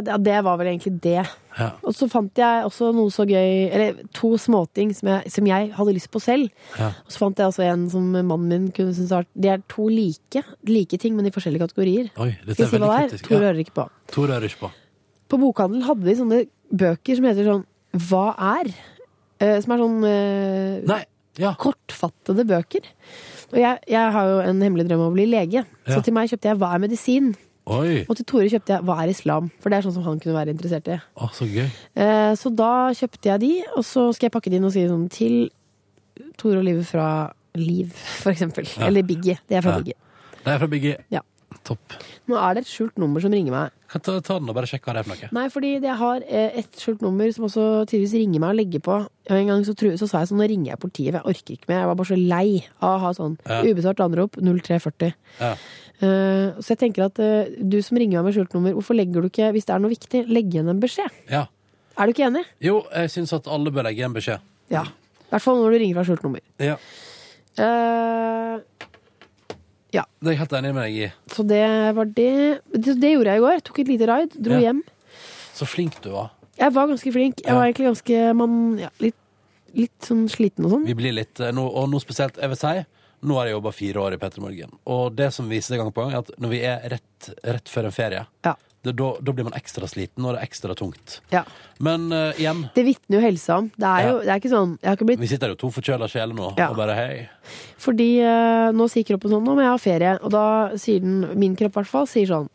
Ja, det var vel egentlig det.
Ja.
Og så fant jeg også noe så gøy Eller to småting som jeg, som jeg hadde lyst på selv.
Ja.
Og så fant jeg altså en som mannen min kunne synes var De er to like, like ting, men i forskjellige kategorier.
Oi, dette
Skal
er
jeg si hva
veldig
det er?
kritisk,
Tor
ja.
hører ikke på.
To rører ikke på.
På bokhandel hadde de sånne bøker som heter sånn Hva er? Eh, som er sånn eh, kortfattede bøker. Og jeg, jeg har jo en hemmelig drøm om å bli lege,
Ja.
så til meg kjøpte jeg Hva er medisin?
Oi.
Og til Tore kjøpte jeg Hva er islam? For det er sånn som han kunne være interessert i.
Å, så gøy.
Eh, Så da kjøpte jeg de, og så skal jeg pakke de inn og si sånn til Tore og Live fra Liv, for eksempel.
Ja.
Eller Biggie. De er fra
Ja.
Biggie.
Det er fra Biggie.
Ja.
Topp.
Nå er det et skjult nummer som ringer meg.
Kan ta, ta den og bare sjekke hva det er for noe.
Nei, fordi jeg har eh, et skjult nummer som også tidligvis ringer meg og legger på. Og en gang så, tru, så sa jeg sånn, nå ringer jeg politiet, for jeg orker ikke mer. Jeg var bare så lei av å ha sånn
Ja.
ubesvart anrop 0340.
Ja.
Eh, så jeg tenker at eh, du som ringer meg med skjult nummer, hvorfor legger du ikke, hvis det er noe viktig, legg igjen en beskjed?
ja.
Er du ikke enig?
Jo, jeg syns at alle bør legge igjen beskjed.
Ja. I hvert fall når du ringer fra skjult nummer.
Ja.
Eh, ja.
Det er jeg helt enig med deg i.
Så det var det. Det, det gjorde jeg i går. Tok et lite raid, dro
Ja.
hjem.
Så flink du var.
Jeg var ganske flink. Jeg var egentlig ganske man, ja, litt, litt sånn sliten og sånn.
Vi blir litt, eh, nå, og nå spesielt, jeg vil si, nå har jeg jobba fire år i Petter Morgen. Og det som viser det gang på gang, er at når vi er rett, rett før en ferie, det, da, da blir man ekstra sliten, og det er ekstra tungt.
Ja.
Men eh, igjen,
Det vitner jo helsa om. Det er jo
Ja.
det er ikke sånn Jeg har ikke blitt
vi sitter jo to forkjøla sjeler nå,
Ja.
og bare hei.
Fordi eh, nå sier kroppen sånn Nå må jeg ha ferie. Og da sier den, min kropp i hvert fall, sier sånn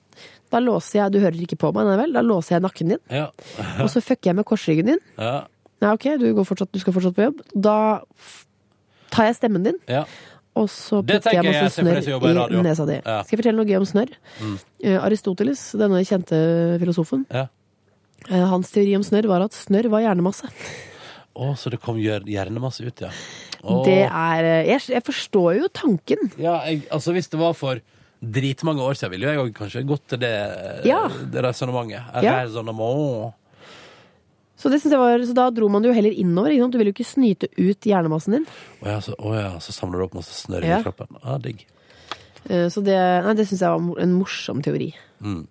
Da låser jeg Du hører ikke på meg, nei vel? Da låser jeg nakken din.
Ja.
Og så fucker jeg med korsryggen din.
ja.
Nei, ok, du, går fortsatt, du skal fortsatt på jobb. Da f- tar jeg stemmen din.
Ja.
Og så
Det
putter jeg
tenker jeg
masse
ser for deg som jobber i
snørr
radio.
i nesa di.
Ja.
Skal jeg fortelle noe gøy om snørr?
Mm.
Eh, Aristoteles, denne kjente filosofen,
ja.
eh, hans teori om snørr var at snørr var hjernemasse.
Å, så det kom gjør- hjernemasse ut, ja. Å.
Det er eh, jeg, jeg forstår jo tanken.
Ja, jeg, altså hvis det var for dritmange år siden, ville jeg jo kanskje gått til det, eh,
Ja.
det resonnementet.
Ja.
Eller sånn, «Åh».
Så, det synes jeg var, så da dro man det jo heller innover. Ikke sant? Du vil jo ikke snyte ut hjernemassen din.
Å ja, så, å ja, så samler du opp masse snørr
Ja.
i kroppen. Ja, digg.
Eh, Så det, nei, det syns jeg var mo- en morsom teori.
Mm.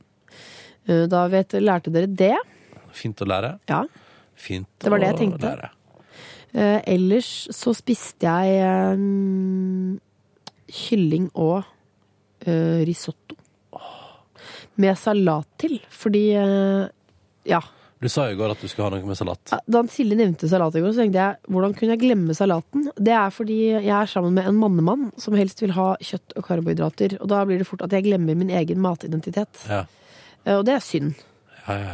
Eh, Da vet, lærte dere det.
Fint å lære.
Ja.
Fint
Det var det
å
jeg tenkte.
lære.
Eh, Ellers så spiste jeg eh, kylling og eh, risotto. Med salat til, fordi eh, Ja.
Du sa jo i går at du skulle ha noe med salat.
Da Silje nevnte salat i går, så tenkte jeg hvordan kunne jeg glemme salaten? Det er fordi jeg er sammen med en mannemann som helst vil ha kjøtt og karbohydrater. Og da blir det fort at jeg glemmer min egen matidentitet.
Ja.
Eh, Og det er synd.
Ja, ja,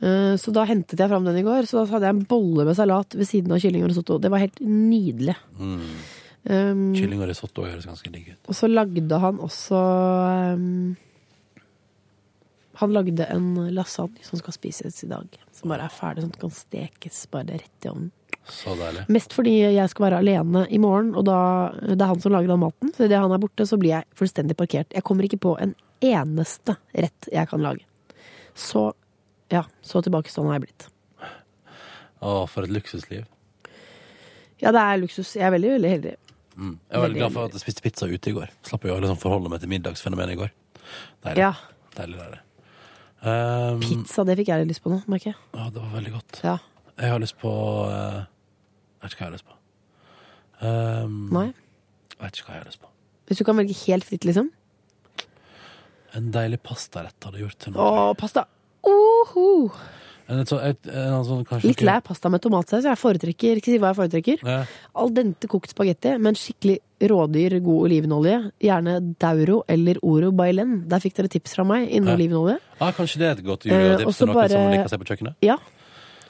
ja.
Eh, Så da hentet jeg fram den i går. Så da hadde jeg en bolle med salat ved siden av kylling og risotto. Det var helt nydelig.
Mm.
Um,
Kylling og risotto høres ganske digg ut.
Og så lagde han også um, Han lagde en lasagne som skal spises i dag. Som bare er ferdig, sånn at den kan stekes bare rett i ovnen.
Så deilig.
Mest fordi jeg skal være alene i morgen, og da, det er han som lager den maten. Så idet han er borte, så blir jeg fullstendig parkert. Jeg kommer ikke på en eneste rett jeg kan lage. Så ja, så tilbakestående har jeg blitt.
Å, for et luksusliv.
Ja, det er luksus. Jeg er veldig, veldig heldig.
Mm. Jeg var
Veldig,
veldig glad for at jeg spiste pizza ute i går. Slapp jo å liksom forholde meg til middagsfenomenet i går. Deilig.
Ja.
Deilig, deilig. Um,
Pizza, det fikk jeg litt lyst på nå, merker jeg.
Ja, det var veldig godt.
Ja.
Jeg har lyst på eh, Vet ikke hva jeg har lyst på. Um,
Nei.
Vet ikke hva jeg har lyst på.
Hvis du kan velge helt fritt, liksom.
En deilig pastarett hadde gjort
Å,
til noe.
pasta! Oho!
En, et så- et, en, sånn kanskje
Litt lei av pasta med tomatsaus. Jeg foretrekker ikke si hva jeg foretrekker.
Ja.
Al dente kokt spagetti med en skikkelig rådyr, god olivenolje. Gjerne Dauro eller Oro Bailen. Der fikk dere tips fra meg innen
Ja.
olivenolje.
Ja, Ah, kanskje det er et godt
Eh,
juletips
også
til noen som
bare-
liker å se på kjøkkenet?
Ja.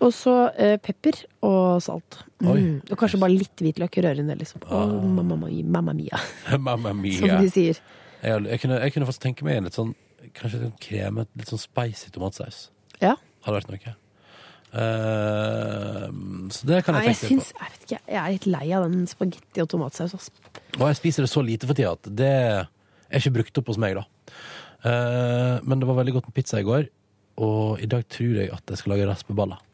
Og så eh, pepper og salt.
Oi.
Mm. Og kanskje bare litt hvitløk. Røre inn det, liksom.
Ah.
Å, mamma, mi- mamma mia,
Mamma mia.
som de sier.
Jeg, har- jeg, kunne, jeg kunne faktisk tenke meg en litt sånn Kanskje litt kremet, litt sånn spicy tomatsaus.
Ja.
Hadde vært noe. Eh, så det kan
Nei,
jeg
jeg,
tenke litt
syns, jeg, vet ikke, jeg er litt lei av den spagetti og tomatsaus. ass.
på. Og jeg spiser det så lite for tida at det er ikke brukt opp hos meg, da. Eh, men det var veldig godt med pizza i går, og i dag tror jeg at jeg skal lage raspeballer.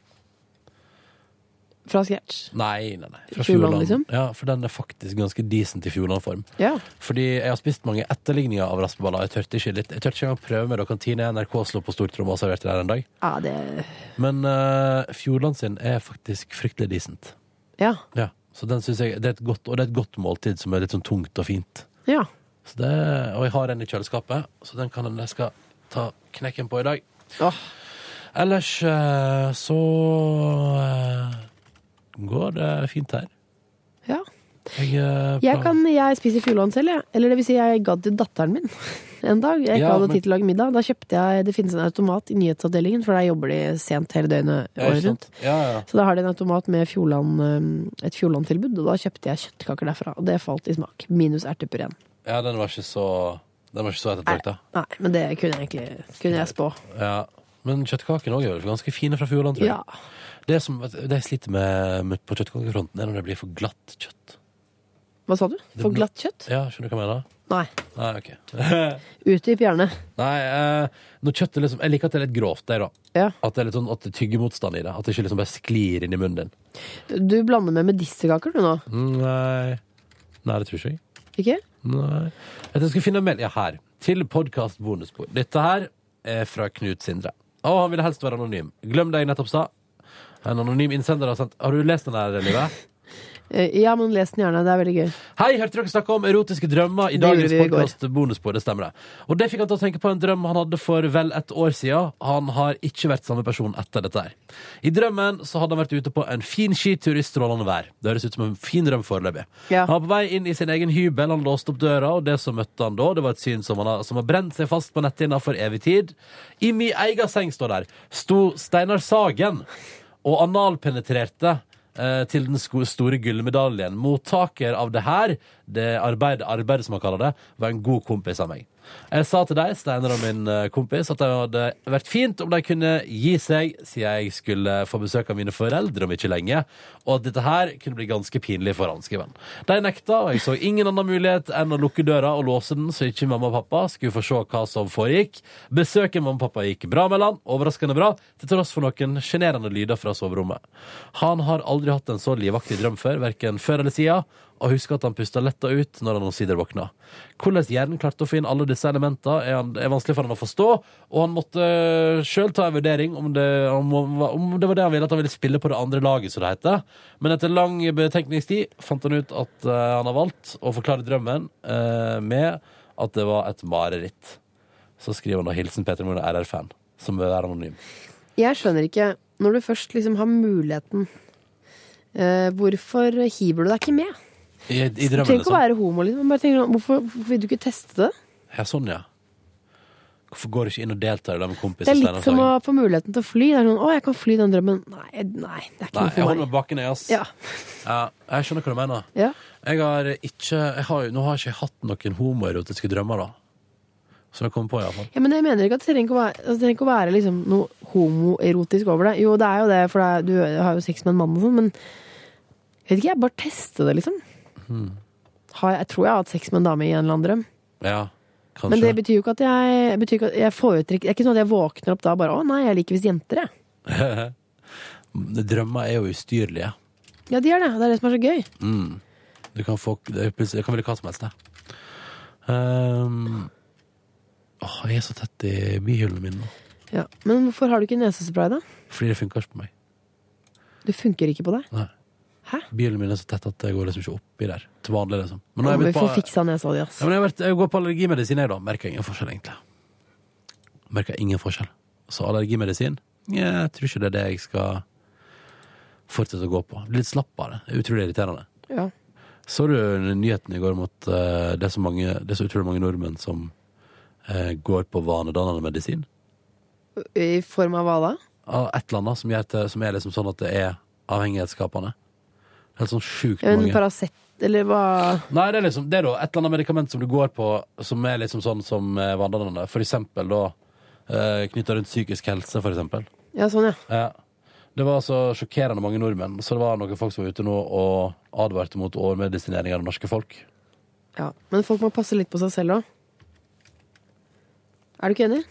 Fra scratch.
Nei, nei, nei. Fra
Fjordland,
Fjordland.
liksom?
Ja, for den er faktisk ganske decent i Fjordland-form.
Ja.
Fordi jeg har spist mange etterligninger av raspeballer. Jeg tørte ikke litt Jeg tørte ikke engang prøve med det. Kantine NRK slo på stortromma og serverte der en dag.
Ja, det
Men eh, Fjordland sin er faktisk fryktelig decent.
Ja.
Ja, så den synes jeg det er et godt, Og det er et godt måltid som er litt sånn tungt og fint.
ja.
Så det, og jeg har en i kjøleskapet, så den kan jeg skal ta knekken på i dag. Ellers eh, så eh, går det fint her.
Ja.
Jeg, eh,
Jeg,
plan-
kan, jeg spiser fjordland selv, jeg. Eller det vil si, jeg ga til datteren min en dag. Jeg ikke
Ja,
hadde
men-
tid til å lage middag. Da kjøpte jeg Det finnes en automat i nyhetsavdelingen, for der jobber de sent hele døgnet
Ja, ikke
året
sant?
rundt.
Ja, ja.
Så da har de en automat med Fjordland, eh, et Fjordland-tilbud, og da kjøpte jeg kjøttkaker derfra. Og det falt i smak. Minus ertepureen.
Ja, den var ikke så Den var ikke så ettertrakta.
Nei, men det kunne jeg egentlig kunne jeg spå.
Ja. Men kjøttkakene òg er vel ganske fine fra Fjordland, tror jeg.
Ja.
Det, som, det jeg sliter med, med på kjøttkakefronten, er når det blir for glatt kjøtt.
Hva sa du? For
blir-
glatt kjøtt?
Ja, skjønner du hva jeg mener?
Nei.
Nei, ok.
Utdyp gjerne.
Nei, eh, når kjøttet liksom Jeg liker at det er litt grovt, det, da.
Ja.
At det er litt sånn at det er tyggemotstand i det. At det ikke liksom bare sklir inn i munnen din.
Du blander med medisterkaker, du nå.
Mm. Nei, Nei det tror ikke jeg.
Ikke?
Nei. Jeg tror jeg skal finne en mail. Ja, her. Til podkast bonusbord. Dette her er fra Knut Sindre. Å, han ville helst være anonym. Glem det jeg nettopp sa. En anonym innsender har sendt Har du lest den her, Live?
Eh, Ja, men les den gjerne. Det er veldig gøy.
Hei, hørte dere snakke om erotiske drømmer i
Det
dagens
gjorde vi i går.
podkast Bonusbord? Det stemmer det. Og det fikk han til å tenke på en drøm han hadde for vel et år siden. Han har ikke vært samme person etter dette her. I drømmen så hadde han vært ute på en fin skitur i strålende vær. Det høres ut som en fin drøm foreløpig.
Ja.
Han var på vei inn i sin egen hybel, han låste opp døra, og det som møtte han da, det var et syn som, han har, som har brent seg fast på netthinna for evig tid. I mi eiga seng, står der, sto Steinar Sagen og analpenetrerte eh, til den sko- store gullmedaljen. Mottaker av det her, det arbeidet, arbeidet som han kaller det, var en god kompis av meg. Jeg sa til deg, Steinar og min eh, kompis, at det hadde vært fint om de kunne gi seg, siden jeg skulle få besøk av mine foreldre om ikke lenge, og at dette her kunne bli ganske pinlig for han, skriver han. De nekta, og jeg så ingen annen mulighet enn å lukke døra og låse den, så ikke mamma og pappa skulle få se hva som foregikk. Besøket mamma og pappa gikk bra mellom, overraskende bra, til tross for noen sjenerende lyder fra soverommet. Han har aldri hatt en så livaktig drøm før, verken før eller siden, og husker at han pusta letta ut når han omsider våkna. Hvordan hjernen klarte å finne alle disse elementene, er, han, er vanskelig for han å forstå, og han måtte sjøl ta en vurdering om det, om, om det var det han ville, at han ville spille på det andre laget, som det heter. Men etter lang betenkningstid fant han ut at eh, han har valgt å forklare drømmen eh, med at det var et mareritt. Så skriver han da 'Hilsen Peter Moen, RR-fan', som vil være anonym.
Jeg skjønner ikke, når du først liksom har muligheten, eh, hvorfor hiver du deg ikke med?
I, i
Du
drømmen,
trenger ikke å
liksom.
være homo, liksom. Bare tenker, sånn, hvorfor, hvorfor vil du ikke teste det?
Ja, sånn, ja. Hvorfor går du ikke inn og sånn? deltar i det med kompiser?
Det er
Steinar
litt som
Sagen?
å få muligheten til å fly. Det er sånn, å, jeg kan fly den drømmen. Nei, nei det er ikke
Nei,
noe
jeg holder
for
meg
meg.
bak i ass.
Ja.
Ja, jeg skjønner hva du mener.
Ja.
Jeg har ikke, jeg har, jo- nå har ikke jeg hatt noen homoerotiske drømmer, da. Som jeg kommer på, iallfall.
Ja, men jeg mener ikke at det trenger ikke å være, det trenger ikke å være liksom, noe homoerotisk over det. Jo, det er jo det, for det er, du har jo sex med en mann og sånn, men jeg vet ikke, jeg bare teste det, liksom.
Hmm.
Har, jeg- jeg tror jeg har hatt sex med en dame i en eller annen drøm.
Ja, kanskje.
Men det betyr jo ikke at jeg, betyr ikke at jeg foretrekker Det er ikke sånn at jeg våkner opp da og bare Å nei, jeg liker visst jenter, jeg.
Drømmer er jo ustyrlige.
Ja, de gjør det. og Det er det som er så gøy.
Mm. Du kan få det er plutselig- Jeg kan velge hva som helst, jeg. Ehm, åh, jeg er så tett i bihyllene mine nå.
Ja. Men hvorfor har du ikke nesespray, da?
Fordi det funker ikke på meg.
Du funker ikke på det.
Nei. Bihyllene mine er så tett at det går liksom ikke oppi der. Til vanlig, liksom.
Nå
Men nå har
må
jeg
vi
begynt
få
på-
fiksa nesa di, ass.
Ja, men jeg, har vært, jeg går på allergimedisin, jeg, da. Merker ingen forskjell, egentlig. Merker ingen forskjell. Så allergimedisin ja, Jeg tror ikke det er det jeg skal fortsette å gå på. Blir litt slapp av det. Det er Utrolig irriterende.
Ja.
Så du nyheten i går om at eh, det, er så mange, det er så utrolig mange nordmenn som eh, går på vanedannende medisin?
I form av hva da?
Av Et eller annet som, gjør at det- som er liksom sånn at det er avhengighetsskapende. Helt sånn sjukt
Ja, men
mange.
Paracet, eller hva
Nei, det er liksom det er da, et eller annet medikament som du går på som er liksom sånn som eh, vanedannende. For eksempel da eh, knytta rundt psykisk helse, for eksempel.
Ja, sånn, ja.
Ja. Det var så sjokkerende mange nordmenn. Så det var noen folk som var ute nå og advarte mot overmedisinering av det norske folk.
ja. Men folk må passe litt på seg selv òg. Er du ikke enig?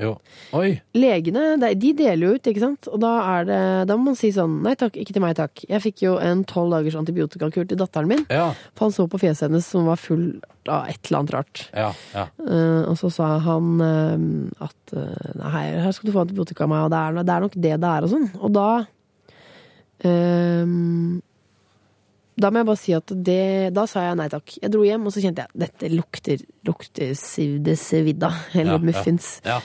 Jo. Oi.
Legene de de deler jo ut, ikke sant? Og da, er det, da må man si sånn Nei takk, ikke til meg takk. Jeg fikk jo en tolv dagers antibiotikakur til datteren min. For han så på fjeset hennes som var full av et eller annet rart.
Ja, ja.
Eh, og så sa han eh, at eh, nei, her skal du få antibiotika av meg, og det er, det er nok det det er, og sånn. Og da eh, Da må jeg bare si at det Da sa jeg nei takk. Jeg dro hjem, og så kjente jeg dette lukter, lukter sivde svidda, eller
Ja, ja.
muffins.
Ja.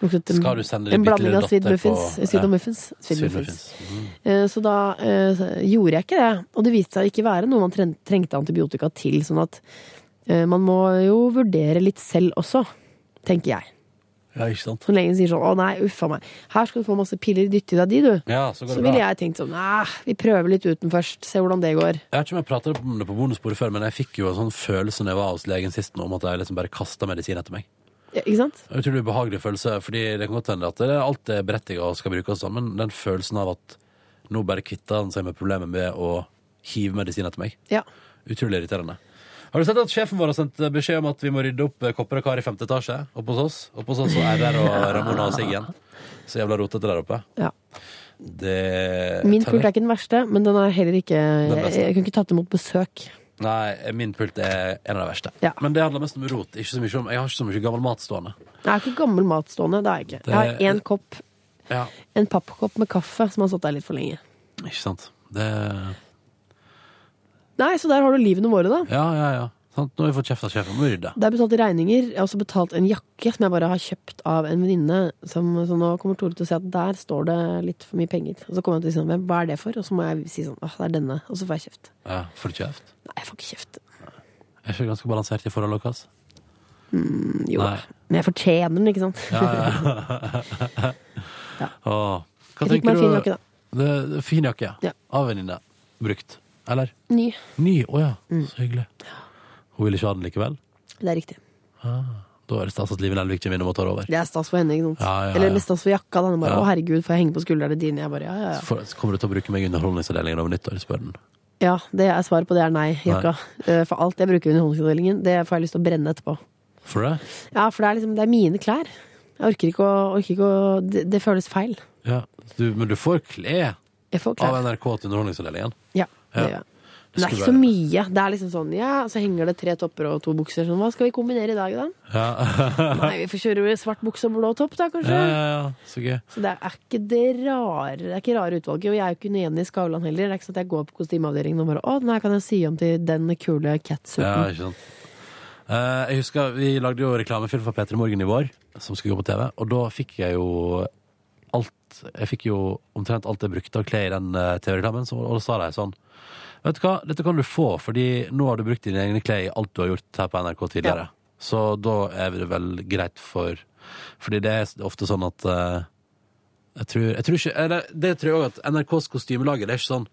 Luktet en,
Skal du sende din
en
bitte
blanding
lille
av svidd
datter på-
muffins. Svidd
ja.
og muffins. Svidd
Svidd
muffins.
muffins.
Eh, Så da eh, gjorde jeg ikke det. Og det viste seg å ikke være noe man tren- trengte antibiotika til. Sånn at eh, man må jo vurdere litt selv også, tenker jeg.
Ja, ikke sant?
Så lenge sier sånn 'Å nei, uffa meg. Her skal du få masse piller. Dytt i deg de, du.'
Ja, så går det
ville
bra.
jeg tenkt sånn 'Nei, vi prøver litt uten først. Se hvordan det går'.
Jeg vet ikke om jeg pratet om det på bonusbordet før, men jeg fikk jo en sånn følelse når jeg var hos legen sist nå, om at jeg liksom bare kastet medisin etter meg.
Ja, Ikke sant?
Det er en utrolig ubehagelig følelse, fordi det kan godt hende at det er alt det berettiget og skal brukes sånn, men den følelsen av at nå bare kvitter han seg med problemet med å hive medisin etter meg.
Ja.
Utrolig irriterende. Har du sett at sjefen vår har sendt beskjed om at vi må rydde opp kopper og kar i femte etasje? Oppe hos oss? Oppe hos oss og RR og Ramona og Siggen. Så jævla rotete der oppe.
Ja.
Det
Min pult er ikke den verste, men den er heller ikke
Den
Jeg,
beste.
jeg kunne ikke tatt imot besøk.
Nei, min pult er en av de verste.
Ja.
Men det handler mest om rot. Ikke så mye om, jeg har ikke så mye gammel mat stående.
Jeg er ikke gammel mat stående. Det er jeg ikke. Jeg har
Det-
én kopp,
Ja.
en pappkopp med kaffe som har stått der litt for lenge.
Ikke sant. Det
Nei, så der har du livene våre, da.
Ja, ja, ja. Sant? Nå har vi fått kjeft av sjefen. Må vi rydde.
Det er betalt regninger. Jeg har også betalt en jakke som jeg bare har kjøpt av en venninne. som- Så nå kommer Tore til å si at der står det litt for mye penger. Og så kommer han til å si sånn, "Hvem- hva er det for? Og så må jeg si sånn, åh, det er denne. Og så får jeg kjeft.
Ja, får du kjeft?
Nei, jeg får ikke kjeft.
Jeg er ikke ganske balansert i forholdet vårt.
Mm, jo.
Nei.
Men jeg fortjener den, ikke sant?
Ja, ja. Åh. Hva
Jeg fikk
tenker
meg en fin
du-
jakke, da.
Det, det er fin jakke, ja.
Ja.
Av venninne. Brukt. Eller?
Ny.
Ny, å ja.
Mm.
Så hyggelig. Hun vil ikke ha den likevel?
Det er riktig.
Ah, da er det stas at Live Nelvik kommer innom og tar over.
Det er stas for henne, ikke sant?
Ja, ja, ja.
Eller mest stas for jakka. da. Den bare,
Ja.
Å, herregud, får jeg henge på skuldrene dine? Jeg bare, ja, ja, ja.
Så får- så kommer du til å bruke meg i Underholdningsavdelingen over nyttår, spør den.
Ja, det er svaret på det er nei, jakka. Eh, For alt jeg bruker i underholdningsavdelingen, det får jeg lyst til å brenne etterpå.
For det?
Ja, for det er liksom, det er mine klær. Jeg orker ikke å, orker ikke å det, det føles feil.
Ja. Du, men du får kle
Jeg får klær.
av NRK til Underholdningsavdelingen.
Ja, det
Ja.
gjør jeg.
Jeg
Men det er ikke
skulle
så mye. Det er liksom sånn, ja, så henger det tre topper og to bukser. Sånn, hva skal vi kombinere i dag, da?
Ja.
Nei, vi får kjøre svart bukse og blå topp, da,
Ja,
kanskje?
ja, ja. Så gøy.
Så det er ikke det rare det er ikke rare utvalget. Og jeg er jo ikke uenig i Skavlan heller. Det er ikke sånn at jeg går på kostymeavdelingen og bare å, den her kan jeg sy om til den kule
Ja,
catsuiten.
ikke sant. Eh, jeg husker Vi lagde jo reklamefilm for P3 Morgen i vår, som skulle gå på TV. Og da fikk jeg jo alt Jeg fikk jo omtrent alt jeg brukte av klær i den eh, TV-reklamen. så- Og da sa de sånn Vet du hva, dette kan du få, fordi nå har du brukt dine egne klær i alt du har gjort her på NRK tidligere. Så da er det vel greit for Fordi det er ofte sånn at eh, jeg tror, jeg tror ikke, eller, det tror jeg også at NRKs kostymelag Det er ikke sånn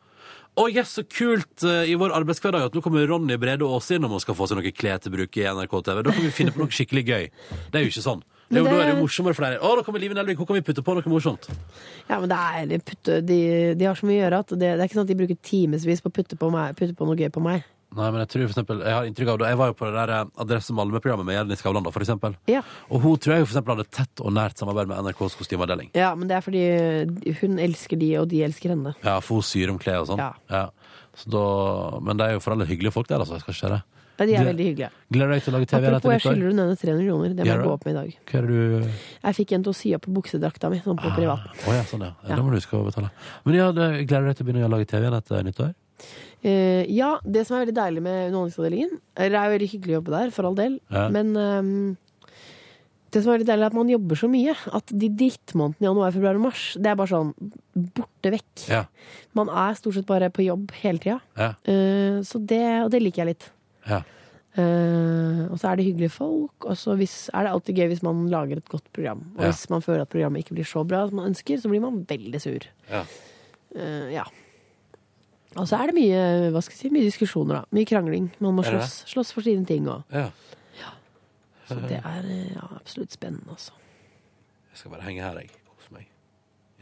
Å, yes, så kult eh, i vår arbeidshverdag at nå kommer Ronny Brede Aase innom og skal få seg noe klær til bruk i NRK TV. Da kan vi finne på noe skikkelig gøy. Det er jo ikke sånn. Det er jo,
Men det-
Da er det jo morsommere for deg. Å, nå kommer Live Nelvik, hun kan vi putte på noe morsomt.
Ja, men det er de putte, de, de har så mye å gjøre at det, det er ikke sånn at de bruker timevis på å putte på, meg, putte på noe gøy på meg.
Nei, men jeg tror for eksempel, jeg har inntrykk av det. Jeg var jo på det der eh, Adresse Malmö-programmet med Jenny Skavlan, da, for eksempel.
Ja.
Og hun tror jeg jo for eksempel hadde tett og nært samarbeid med NRKs kostymeavdeling.
ja, men det er fordi hun elsker de, og de elsker henne.
Ja, for hun syr om klær og sånn.
Ja.
Så da, men det er jo for alle hyggelige folk der, altså. Jeg skal ikke si det.
Ja, de er
Det-
veldig hyggelige.
Gleder deg til å lage TV
Apropos,
etter
jeg
nyttår?
skylder hun henne 300 kroner. Det må jeg
Gjør du?
gå opp med i dag.
Hva er det du
Jeg fikk en til å sy opp på buksedrakta mi, sånn på privat.
Å ja, sånn, ja. ja. Da må du huske å betale. Men ja, det, gleder du deg til å begynne å lage TV igjen etter nyttår?
Eh, ja, det som er veldig deilig med Underholdningsavdelingen eller Det er jo veldig hyggelig å jobbe der, for all del,
Ja.
men ehm, det som er veldig deilig, er at man jobber så mye at de drittmånedene januar, februar og mars, det er bare sånn borte vekk.
Ja.
Man er stort sett bare på jobb hele tida.
Ja.
Eh, så det, og det liker jeg litt.
Ja.
Eh, og så er det hyggelige folk, og så hvis, er det alltid gøy hvis man lager et godt program. Og
Ja.
hvis man føler at programmet ikke blir så bra som man ønsker, så blir man veldig sur. Eh, ja. Og så er det mye, hva skal jeg si, mye diskusjoner, da. Mye krangling. Man må
Er det det?
slåss, slåss for sine ting og
Ja.
Så det er eh, ja, absolutt spennende, altså.
Jeg skal bare henge her, jeg. Hos meg.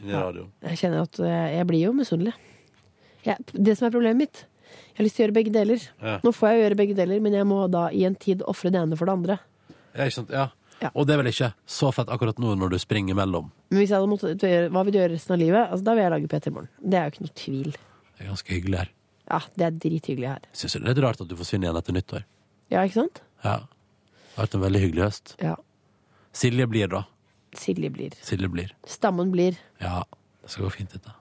Inni
Ja.
radioen.
Jeg kjenner at eh, jeg blir jo misunnelig. Jeg, det som er problemet mitt Jeg har lyst til å gjøre begge deler.
Ja.
Nå får jeg jo gjøre begge deler, men jeg må da i en tid ofre det ene for det andre.
Ja, ikke sant? Ja. Og det er vel ikke så fett akkurat nå når du springer mellom.
Men hvis jeg hadde måttet gjøre, hva vil du gjøre resten av livet? Altså, da vil jeg lage P3 Morgen. Det er jo ikke noe tvil.
Det er ganske hyggelig her.
Ja, det er drithyggelig her.
Syns det er litt rart at du forsvinner igjen etter nyttår.
Ja, ikke sant?
Ja. Det har vært en veldig hyggelig høst.
Ja.
Silje blir, da.
Silje blir.
Silje blir.
Stammen blir.
Ja, det skal gå fint, dette.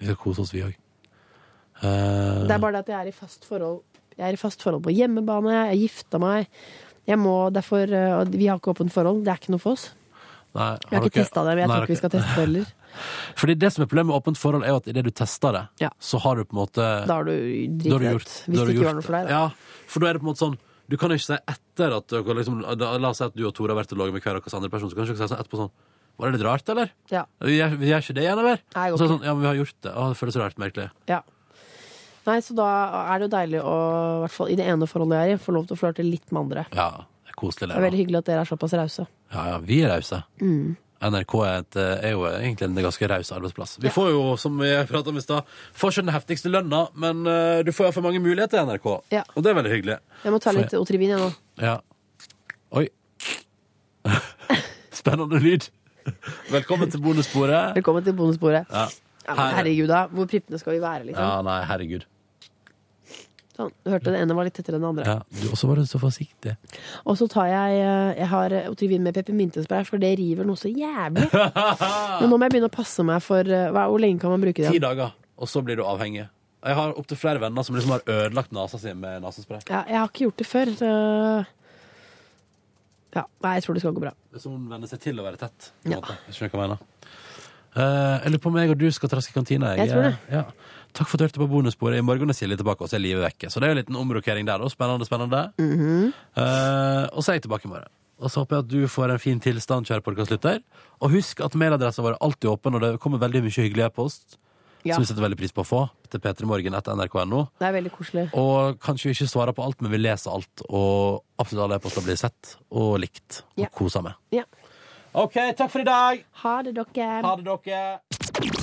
Vi skal kose oss, vi Eh, òg.
Det er bare det at jeg er i fast forhold. Jeg er i fast forhold på hjemmebane, jeg gifta meg. Jeg må derfor eh, og Vi har ikke åpent forhold, det er ikke noe for oss.
Nei,
Vi har ikke
dere-
testa det, men jeg
Nei,
tror ikke vi skal
dere-
teste det heller.
Fordi det som er problemet med åpent forhold, er jo at idet du tester det, så har du på en måte
Da har du driti
da har du
deg ut,
gjort-
hvis
da
det
har du
ikke
gjort
var noe for deg, da.
Ja, for da er det på en måte sånn Du kan ikke si etter at dere liksom, da- La oss si at du og Tore har vært og laget med hver deres andre person, så kan du ikke si sånn etterpå sånn Var det litt rart, eller?
Ja.
Vi gjør, vi gjør ikke det igjen, eller?
Nei, jeg går
Og så er det
ikke.
sånn, ja, men vi har gjort det. Å, det føles rart, merkelig.
Ja. Nei, så da er det jo deilig å, i hvert fall i det ene forholdet jeg er i, få lov til å flørte litt med andre.
Ja, det er koselig.
Det er veldig hyggelig at dere er såpass rause.
Ja, ja, vi er rause.
Mm.
NRK er, et, eh, er jo egentlig en ganske raus arbeidsplass. Vi får jo, som jeg pratet om i stad, får ikke den heftigste lønna, men eh, du får iallfall mange muligheter i NRK.
Ja.
Og det er veldig hyggelig.
Jeg må ta
Får
litt Otrivin, jeg nå.
Ja. Oi. Spennende lyd. Velkommen til bonussporet.
Velkommen til bonusbordet.
Ja.
Ja, men herregud, da. Hvor prippende skal vi være,
Ja,
liksom?
nei, herregud.
Sånn. Du hørte den ene var litt tettere enn den andre.
Ja. Du, og så var du så forsiktig.
Og så tar jeg eh, Jeg har Otrivin med peppermyntespray, for det river noe så jævlig. Men nå må jeg begynne å passe meg for eh, hva, Hvor lenge kan man bruke
Ti
det?
dager, og så blir du avhengig. Jeg har opptil flere venner som liksom har ødelagt nesa si med nesespray.
Ja, jeg har ikke gjort det før. Så... Ja, nei, jeg tror det skal gå bra.
Så hun venner seg til å være tett. på en måte. Jeg skjønner hva jeg mener. Eh, jeg lurer på om jeg og du skal traske i kantina.
Jeg tror det.
Ja. Takk for at du hørte på bonussporet. I morgen er Silje tilbake, og så er livet vekke. Så det er jo en liten omrokering der, da. Spennende, spennende.
Mhm.
Eh, og så er jeg tilbake i morgen. Og så håper jeg at du får en fin tilstand, kjære podkastlytter. Og husk at mailadressen vår er alltid åpen, og det kommer veldig mye hyggelig e-post.
Ja.
Som vi setter veldig pris på å få. Til p3morgen.nrk.no.
Det er veldig koselig.
Og kanskje vi ikke svarer på alt, men vi leser alt. Og absolutt alle e-poster blir sett og likt. Og
Ja.
koser med.
Ja.
OK, takk for i dag!
Ha det, dere.
Ha det, dere.